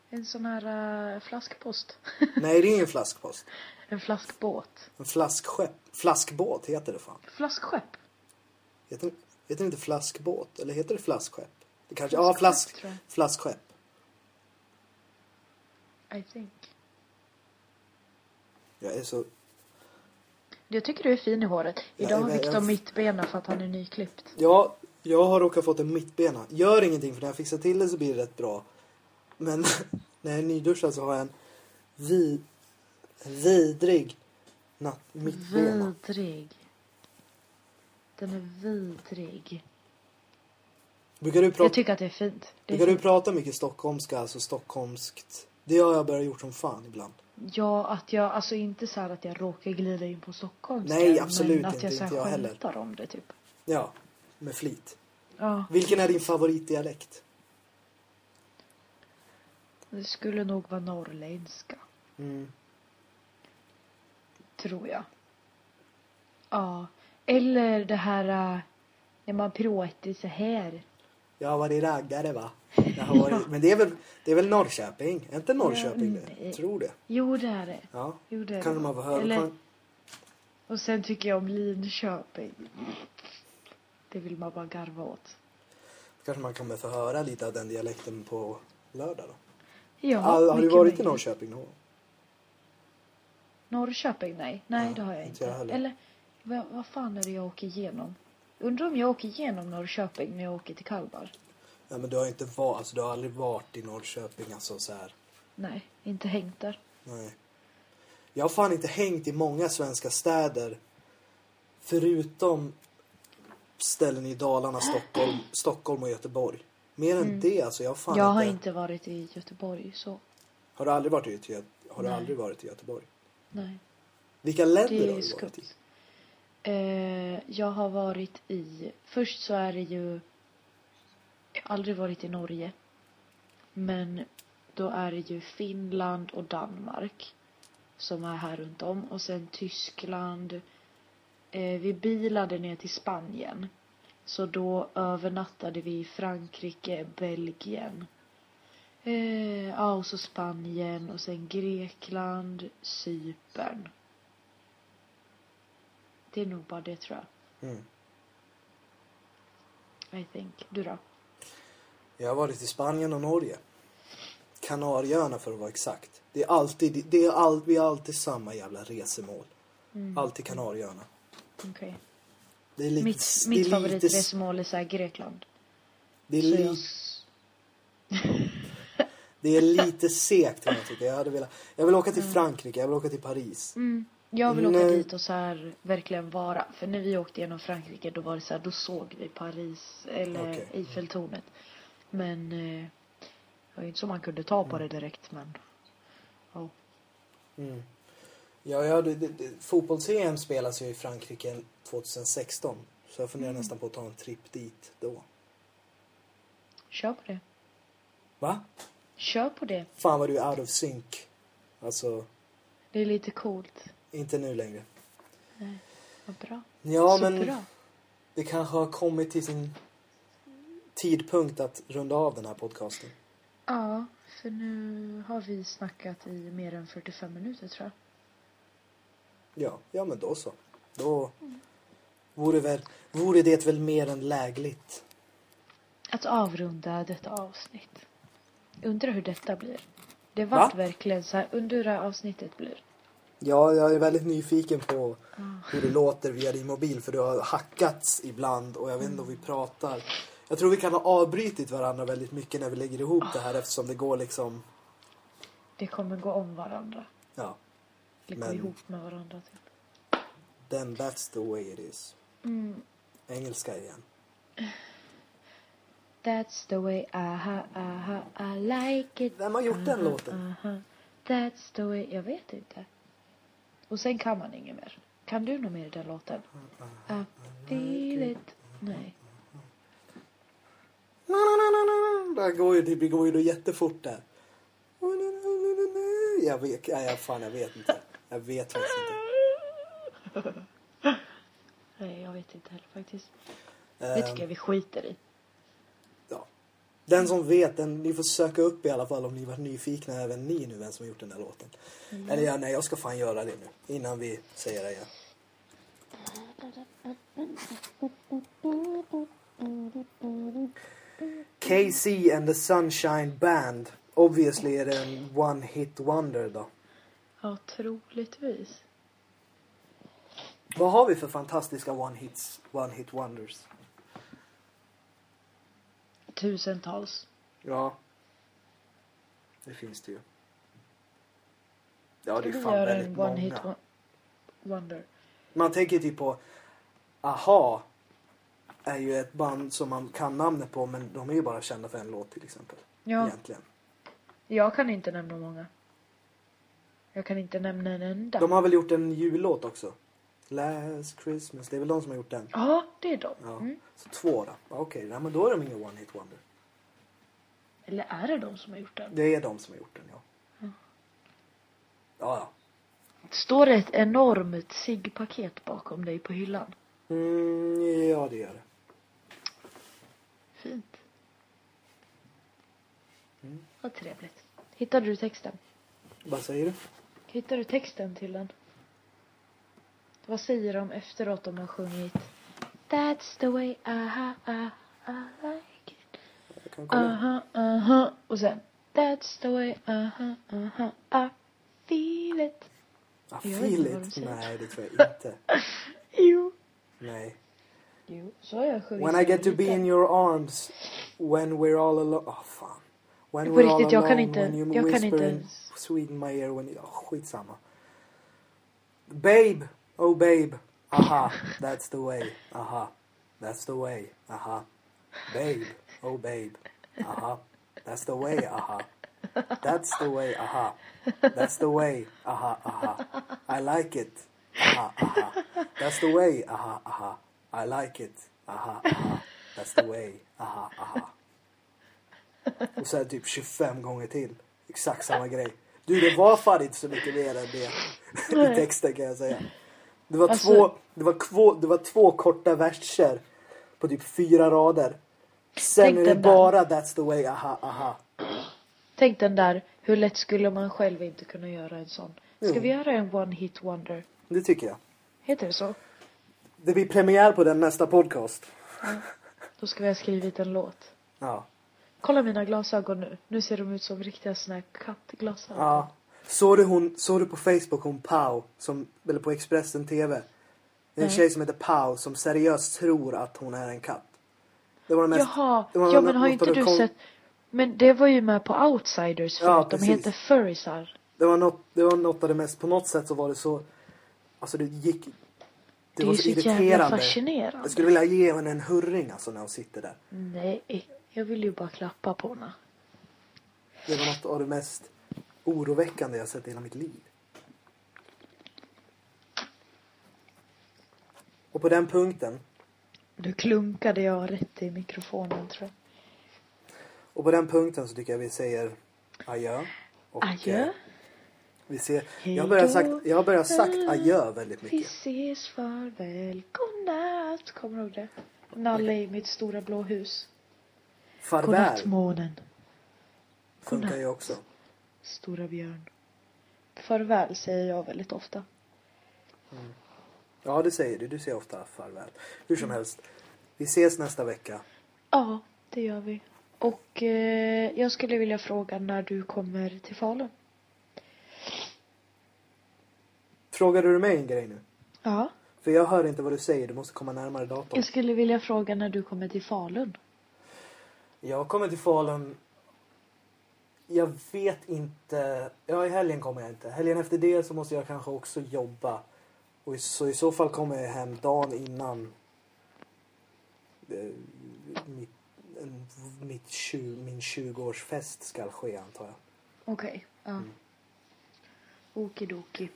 Speaker 2: En sån här eh, flaskpost.
Speaker 1: Nej, det är ingen flaskpost.
Speaker 2: en flaskbåt.
Speaker 1: En flaskskepp. Flaskbåt heter det fan.
Speaker 2: Flaskskepp.
Speaker 1: Heter, heter det inte flaskbåt? Eller heter det flaskskepp? Det kanske... ja,
Speaker 2: Flaskskepp,
Speaker 1: flask,
Speaker 2: tror jag.
Speaker 1: flaskskepp.
Speaker 2: I think.
Speaker 1: Jag är så...
Speaker 2: Jag tycker du är fin i håret.
Speaker 1: Ja,
Speaker 2: Idag har
Speaker 1: jag-
Speaker 2: Viktor
Speaker 1: jag-
Speaker 2: mittbena för att han är nyklippt.
Speaker 1: Ja, jag har råkat fått en mittbena. Gör ingenting, för när jag fixar till det så blir det rätt bra. Men när jag är nyduschad så har jag en vid, vidrig natt, mittbena.
Speaker 2: Mm. Vidrig. Den är vidrig.
Speaker 1: Brukar du
Speaker 2: Jag
Speaker 1: prata...
Speaker 2: tycker att det är fint. Det är
Speaker 1: Brukar du
Speaker 2: fint.
Speaker 1: prata mycket stockholmska, alltså stockholmskt? Det har jag börjat gjort som fan ibland.
Speaker 2: Ja, att jag, alltså inte så här att jag råkar glida in på stockholmska.
Speaker 1: Nej, absolut
Speaker 2: men att
Speaker 1: inte,
Speaker 2: jag så här
Speaker 1: inte jag heller.
Speaker 2: skämtar om det typ.
Speaker 1: Ja, med flit.
Speaker 2: Ja,
Speaker 1: Vilken är din favoritdialekt?
Speaker 2: det skulle nog vara norrländska.
Speaker 1: Mm.
Speaker 2: Tror jag. Ja. Eller det här äh, när man pratar så här.
Speaker 1: Jag har varit raggare va? Jag har varit... Men det är väl, det är väl Norrköping? Är inte Norrköping
Speaker 2: Ja,
Speaker 1: det?
Speaker 2: nej.
Speaker 1: Tror det.
Speaker 2: Jo, det är det.
Speaker 1: Ja.
Speaker 2: Jo, det är
Speaker 1: Kan
Speaker 2: det.
Speaker 1: man få höra?
Speaker 2: Eller-
Speaker 1: kan-
Speaker 2: Och sen tycker jag om Linköping. Det vill man bara garva åt.
Speaker 1: Kanske man kommer få höra lite av den dialekten på lördag då.
Speaker 2: Ja,
Speaker 1: All, har du
Speaker 2: mycket
Speaker 1: varit i
Speaker 2: möjligt.
Speaker 1: Norrköping någon gång?
Speaker 2: Norrköping? Nej, nej
Speaker 1: Ja,
Speaker 2: det har jag
Speaker 1: inte
Speaker 2: inte.
Speaker 1: jag heller.
Speaker 2: Eller vad, vad fan är det jag åker igenom? Undrar om jag åker igenom Norrköping när jag åker till Kalmar?
Speaker 1: Ja, men du har ju inte varit, alltså du har aldrig varit i Norrköping alltså så här.
Speaker 2: Nej, inte hängt där.
Speaker 1: Nej. Jag har fan inte hängt i många svenska städer. Förutom ställen i Dalarna, Stockholm, Stockholm och Göteborg. Mer än det alltså, jag har fan
Speaker 2: Mm. jag har
Speaker 1: inte...
Speaker 2: inte varit i Göteborg så.
Speaker 1: Har du aldrig varit i, Göte- har du
Speaker 2: Nej.
Speaker 1: aldrig varit i Göteborg?
Speaker 2: Nej,
Speaker 1: Vilka länder
Speaker 2: det
Speaker 1: har du
Speaker 2: är ju
Speaker 1: varit
Speaker 2: skumt.
Speaker 1: i?
Speaker 2: Eh, jag har varit i... Först så är det ju... Jag har aldrig varit i Norge. Men då är det ju Finland och Danmark som är här runt om. Och sen Tyskland. Eh, vi bilade ner till Spanien. Så då övernattade vi i Frankrike, Belgien. Eh, ja, och så Spanien och sen Grekland, Cypern. Det är nog bara det tror jag.
Speaker 1: Mm.
Speaker 2: I think. Du då?
Speaker 1: Jag har varit i Spanien och Norge. Kanarieöarna för att vara exakt. Det är alltid, det är all, vi har alltid samma jävla resemål. Alltid Kanarieöarna.
Speaker 2: Okej.
Speaker 1: Det är lite,
Speaker 2: Mm. Mitt,
Speaker 1: det är
Speaker 2: mitt
Speaker 1: lite-
Speaker 2: favoritresmål är så här Grekland.
Speaker 1: Det är,
Speaker 2: Så jag,
Speaker 1: li, det är lite segt kan jag tycka. Jag, hade velat, jag vill åka till Frankrike, jag vill åka till Paris.
Speaker 2: mm, jag vill åka
Speaker 1: Nej.
Speaker 2: dit och så här verkligen vara. För när vi åkte genom Frankrike då var det så här, då såg vi Paris eller
Speaker 1: Okej. Mm.
Speaker 2: Eiffeltornet. Men eh, det var ju inte så man kunde ta
Speaker 1: Mm.
Speaker 2: på det direkt men. ja.
Speaker 1: Ja, ja, det- det- det- Fotbolls-EM spelas ju i Frankrike 2016. Så jag funderar
Speaker 2: Mm.
Speaker 1: nästan på att ta en tripp dit då.
Speaker 2: Kör på det.
Speaker 1: Va?
Speaker 2: Kör på det.
Speaker 1: Fan vad du är out of sync. Alltså,
Speaker 2: Det är lite coolt.
Speaker 1: inte nu längre.
Speaker 2: Vad bra.
Speaker 1: Ja,
Speaker 2: så
Speaker 1: men
Speaker 2: bra.
Speaker 1: det kanske har kommit till sin tidpunkt att runda av den här podcasten.
Speaker 2: Ja, för nu har vi snackat i mer än 45 minuter tror jag.
Speaker 1: Ja, ja men då så. Då vore, väl, vore det väl mer än lägligt.
Speaker 2: att avrunda detta avsnitt. Undrar hur detta blir. Det vart
Speaker 1: Va?
Speaker 2: verkligen så här, undrar hur det här avsnittet blir.
Speaker 1: Ja, jag är väldigt nyfiken på hur det låter via din mobil för du har hackats ibland och jag vet inte om vi pratar. Jag tror vi kan ha avbrytit varandra väldigt mycket när vi lägger ihop det här eftersom det går liksom,
Speaker 2: Det kommer gå om varandra.
Speaker 1: ja,
Speaker 2: Eller gå
Speaker 1: Men-
Speaker 2: ihop med varandra typ.
Speaker 1: then that's the way it is.
Speaker 2: Mm.
Speaker 1: Engelska igen.
Speaker 2: That's the way, aha, aha, I like it.
Speaker 1: Vem har gjort den
Speaker 2: aha,
Speaker 1: låten?
Speaker 2: Aha. That's the way, jag vet inte. Och sen kan man inget mer. Kan du något mer i den låten?
Speaker 1: Mm,
Speaker 2: I feel it. Nej.
Speaker 1: Na, na, na, na, na, na. Det går ju, det går ju då jättefort där. Jag vet, nej, jag- fan jag vet inte. Jag vet faktiskt inte.
Speaker 2: Nej, jag vet inte heller faktiskt. Det
Speaker 1: Ehm,
Speaker 2: tycker jag vi skiter i.
Speaker 1: ja. Den som vet, den, ni får söka upp i alla fall om ni var nyfikna även ni nu vem som har gjort den där låten.
Speaker 2: Mm.
Speaker 1: Eller ja, nej jag ska fan göra det nu innan vi säger det igen. KC and the Sunshine Band. Obviously är det en one hit wonder då.
Speaker 2: Ja, troligtvis.
Speaker 1: Vad har vi för fantastiska one hits, one hit wonders?
Speaker 2: Tusentals.
Speaker 1: Ja. Det finns det ju. Ja, det är
Speaker 2: Vi
Speaker 1: fan
Speaker 2: gör
Speaker 1: väldigt
Speaker 2: en one
Speaker 1: många.
Speaker 2: hit won- wonder.
Speaker 1: Man tänker typ på AHA är ju ett band som man kan namnet på men de är ju bara kända för en låt till exempel.
Speaker 2: Ja.
Speaker 1: Egentligen.
Speaker 2: Jag kan inte nämna många. Jag kan inte nämna en enda.
Speaker 1: De har väl gjort en jullåt också? Last Christmas, det är väl de som har gjort den?
Speaker 2: Ja, det är de.
Speaker 1: Ja.
Speaker 2: Mm.
Speaker 1: Så två då? Ja, Okej, nej, men då är de ingen one hit wonder.
Speaker 2: Eller är det de som har gjort den?
Speaker 1: Det är de som har gjort den ja. Ja, ja.
Speaker 2: Står det ett enormt SIG-paket bakom dig på hyllan?
Speaker 1: Mm, ja det gör det.
Speaker 2: Fint.
Speaker 1: Mm.
Speaker 2: Vad trevligt. Hittade du texten?
Speaker 1: Vad säger du?
Speaker 2: Hittade du texten till den? Vad säger de efteråt om man sjungit That's the way, aha, aha, I like it.
Speaker 1: Jag kan kolla.
Speaker 2: Aha, aha. Och sen That's the way, aha, aha, I feel it.
Speaker 1: Ah,
Speaker 2: Jag vet inte
Speaker 1: feel
Speaker 2: vad de
Speaker 1: it?
Speaker 2: säger.
Speaker 1: Nej, det tror jag inte.
Speaker 2: Jo.
Speaker 1: Nej.
Speaker 2: Jo, så har jag sjungit.
Speaker 1: When
Speaker 2: sedan
Speaker 1: I get to
Speaker 2: jag var
Speaker 1: be in
Speaker 2: liten.
Speaker 1: your arms when we're all alone. Ah fan. When
Speaker 2: På
Speaker 1: we're all
Speaker 2: riktigt, jag kan
Speaker 1: alone,
Speaker 2: inte-
Speaker 1: when you
Speaker 2: jag kan
Speaker 1: whisper
Speaker 2: inte
Speaker 1: in
Speaker 2: ens.
Speaker 1: Sweet in my ear when you... Oh, skitsamma. Babe, oh babe. Aha, that's the way. Aha, that's the way. Aha. Babe, oh babe. Aha, that's the way. Aha. That's the way. Aha. That's the way. Aha, aha. I like it. Aha, aha. That's the way. Aha, aha. I like it. Aha, aha. That's the way. Aha, aha. Och sen typ 25 gånger till. Exakt samma grej. Du, det var fan inte så mycket mer än det i texten kan jag säga. Det var,
Speaker 2: Alltså-
Speaker 1: två, det var, kvå, det var två korta verser på typ fyra rader. Sen
Speaker 2: Tänk
Speaker 1: är det
Speaker 2: den där.
Speaker 1: bara That's the way, aha, aha.
Speaker 2: Tänk den där, hur lätt skulle man själv inte kunna göra en sån? Ska vi göra en one hit wonder?
Speaker 1: Det tycker jag.
Speaker 2: Heter det så?
Speaker 1: Det blir premiär på den nästa podcast.
Speaker 2: Då ska vi ha skrivit en låt.
Speaker 1: Ja.
Speaker 2: Kolla mina glasögon nu. Nu ser de ut som riktiga såna här kattglasögon.
Speaker 1: ja. Såg du hon, såg du på Facebook hon Pau, som, eller på Expressen TV? Det är en tjej som heter Pau som seriöst tror att hon är en katt. Det var den mest,
Speaker 2: Jaha,
Speaker 1: det var
Speaker 2: ja
Speaker 1: något-
Speaker 2: men har
Speaker 1: något
Speaker 2: inte
Speaker 1: av
Speaker 2: du
Speaker 1: det kon-
Speaker 2: sett? Men det var ju med på Outsiders förut.
Speaker 1: Ja,
Speaker 2: de
Speaker 1: precis.
Speaker 2: heter furriesar.
Speaker 1: Det var, något, det var något av det mest, på något sätt så var det så, alltså det gick, det,
Speaker 2: Det,
Speaker 1: var
Speaker 2: är
Speaker 1: så
Speaker 2: ju så jävla
Speaker 1: irriterande.
Speaker 2: fascinerande.
Speaker 1: Jag skulle vilja ge henne en hurring alltså när hon sitter där.
Speaker 2: Nej, jag vill ju bara klappa på henne.
Speaker 1: Det var något av det mest oroväckande jag sett i hela mitt liv. Och på den punkten,
Speaker 2: Nu klunkade jag rätt i mikrofonen tror jag.
Speaker 1: och på den punkten så tycker jag vi säger adjö. Och, eh,
Speaker 2: Adjö,
Speaker 1: Vi ser, jag
Speaker 2: Hej
Speaker 1: har börjat
Speaker 2: då.
Speaker 1: sagt, jag har börjat sagt adjö väldigt
Speaker 2: vi
Speaker 1: mycket.
Speaker 2: ses, farväl, godnatt. Kommer du ihåg det? Nalle i mitt stora blå hus. Godnatt
Speaker 1: Farväl
Speaker 2: månen,
Speaker 1: funkar ju också.
Speaker 2: stora björn. Farväl säger jag väldigt ofta.
Speaker 1: Ja, det säger du. Du säger ofta farväl. Hur
Speaker 2: Mm.
Speaker 1: som helst. Vi ses nästa vecka.
Speaker 2: Ja, det gör vi. Och eh, jag skulle vilja fråga när du kommer till Falun.
Speaker 1: Frågade du mig en grej nu?
Speaker 2: Ja.
Speaker 1: För jag hör inte vad du säger. Du måste komma närmare datorn.
Speaker 2: Jag skulle vilja fråga när du kommer till Falun.
Speaker 1: Jag kommer till Falun. Jag vet inte. Ja, i helgen kommer jag inte. Helgen efter det så måste jag kanske också jobba. Och i- så i så fall kommer jag hem dagen innan eh, mitt, en- mitt, tju- min 20-årsfest ska ske antar jag.
Speaker 2: Okej. ja.
Speaker 1: Mm.
Speaker 2: Okidoki.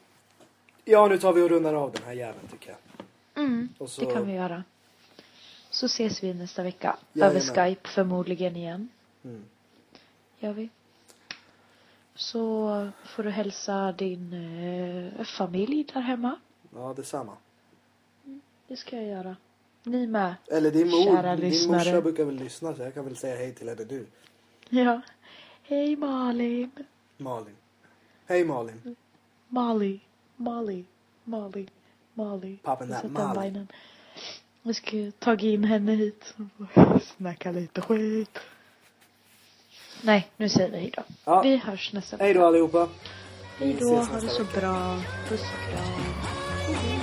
Speaker 1: Ja, nu tar vi och rundar av den här jäveln tycker jag.
Speaker 2: Mm,
Speaker 1: Och så-
Speaker 2: det kan vi göra. Så ses vi nästa vecka.
Speaker 1: Jajamän.
Speaker 2: Över Skype förmodligen igen.
Speaker 1: Mm.
Speaker 2: Gör vi. Så får du hälsa din eh, familj där hemma.
Speaker 1: Ja, detsamma.
Speaker 2: Det ska jag göra. Ni med.
Speaker 1: Eller din,
Speaker 2: Kära
Speaker 1: mor, din
Speaker 2: lyssnare.
Speaker 1: morsa brukar väl lyssna så jag kan väl säga hej till henne du,
Speaker 2: Ja. Hej Malin.
Speaker 1: Malin. Hej Malin.
Speaker 2: Molly, Molly, Molly, Molly.
Speaker 1: Poppin' that
Speaker 2: Jag satte
Speaker 1: Molly.
Speaker 2: en linen. Vi ska ta in henne hit. Snacka lite skit. Nej, nu säger vi hejdå.
Speaker 1: Ja.
Speaker 2: Vi hörs nästa vecka.
Speaker 1: Hej då allihopa.
Speaker 2: Hejdå,
Speaker 1: ses
Speaker 2: ha det
Speaker 1: nästa
Speaker 2: så
Speaker 1: vecka.
Speaker 2: bra. Puss och kram. Hejdå.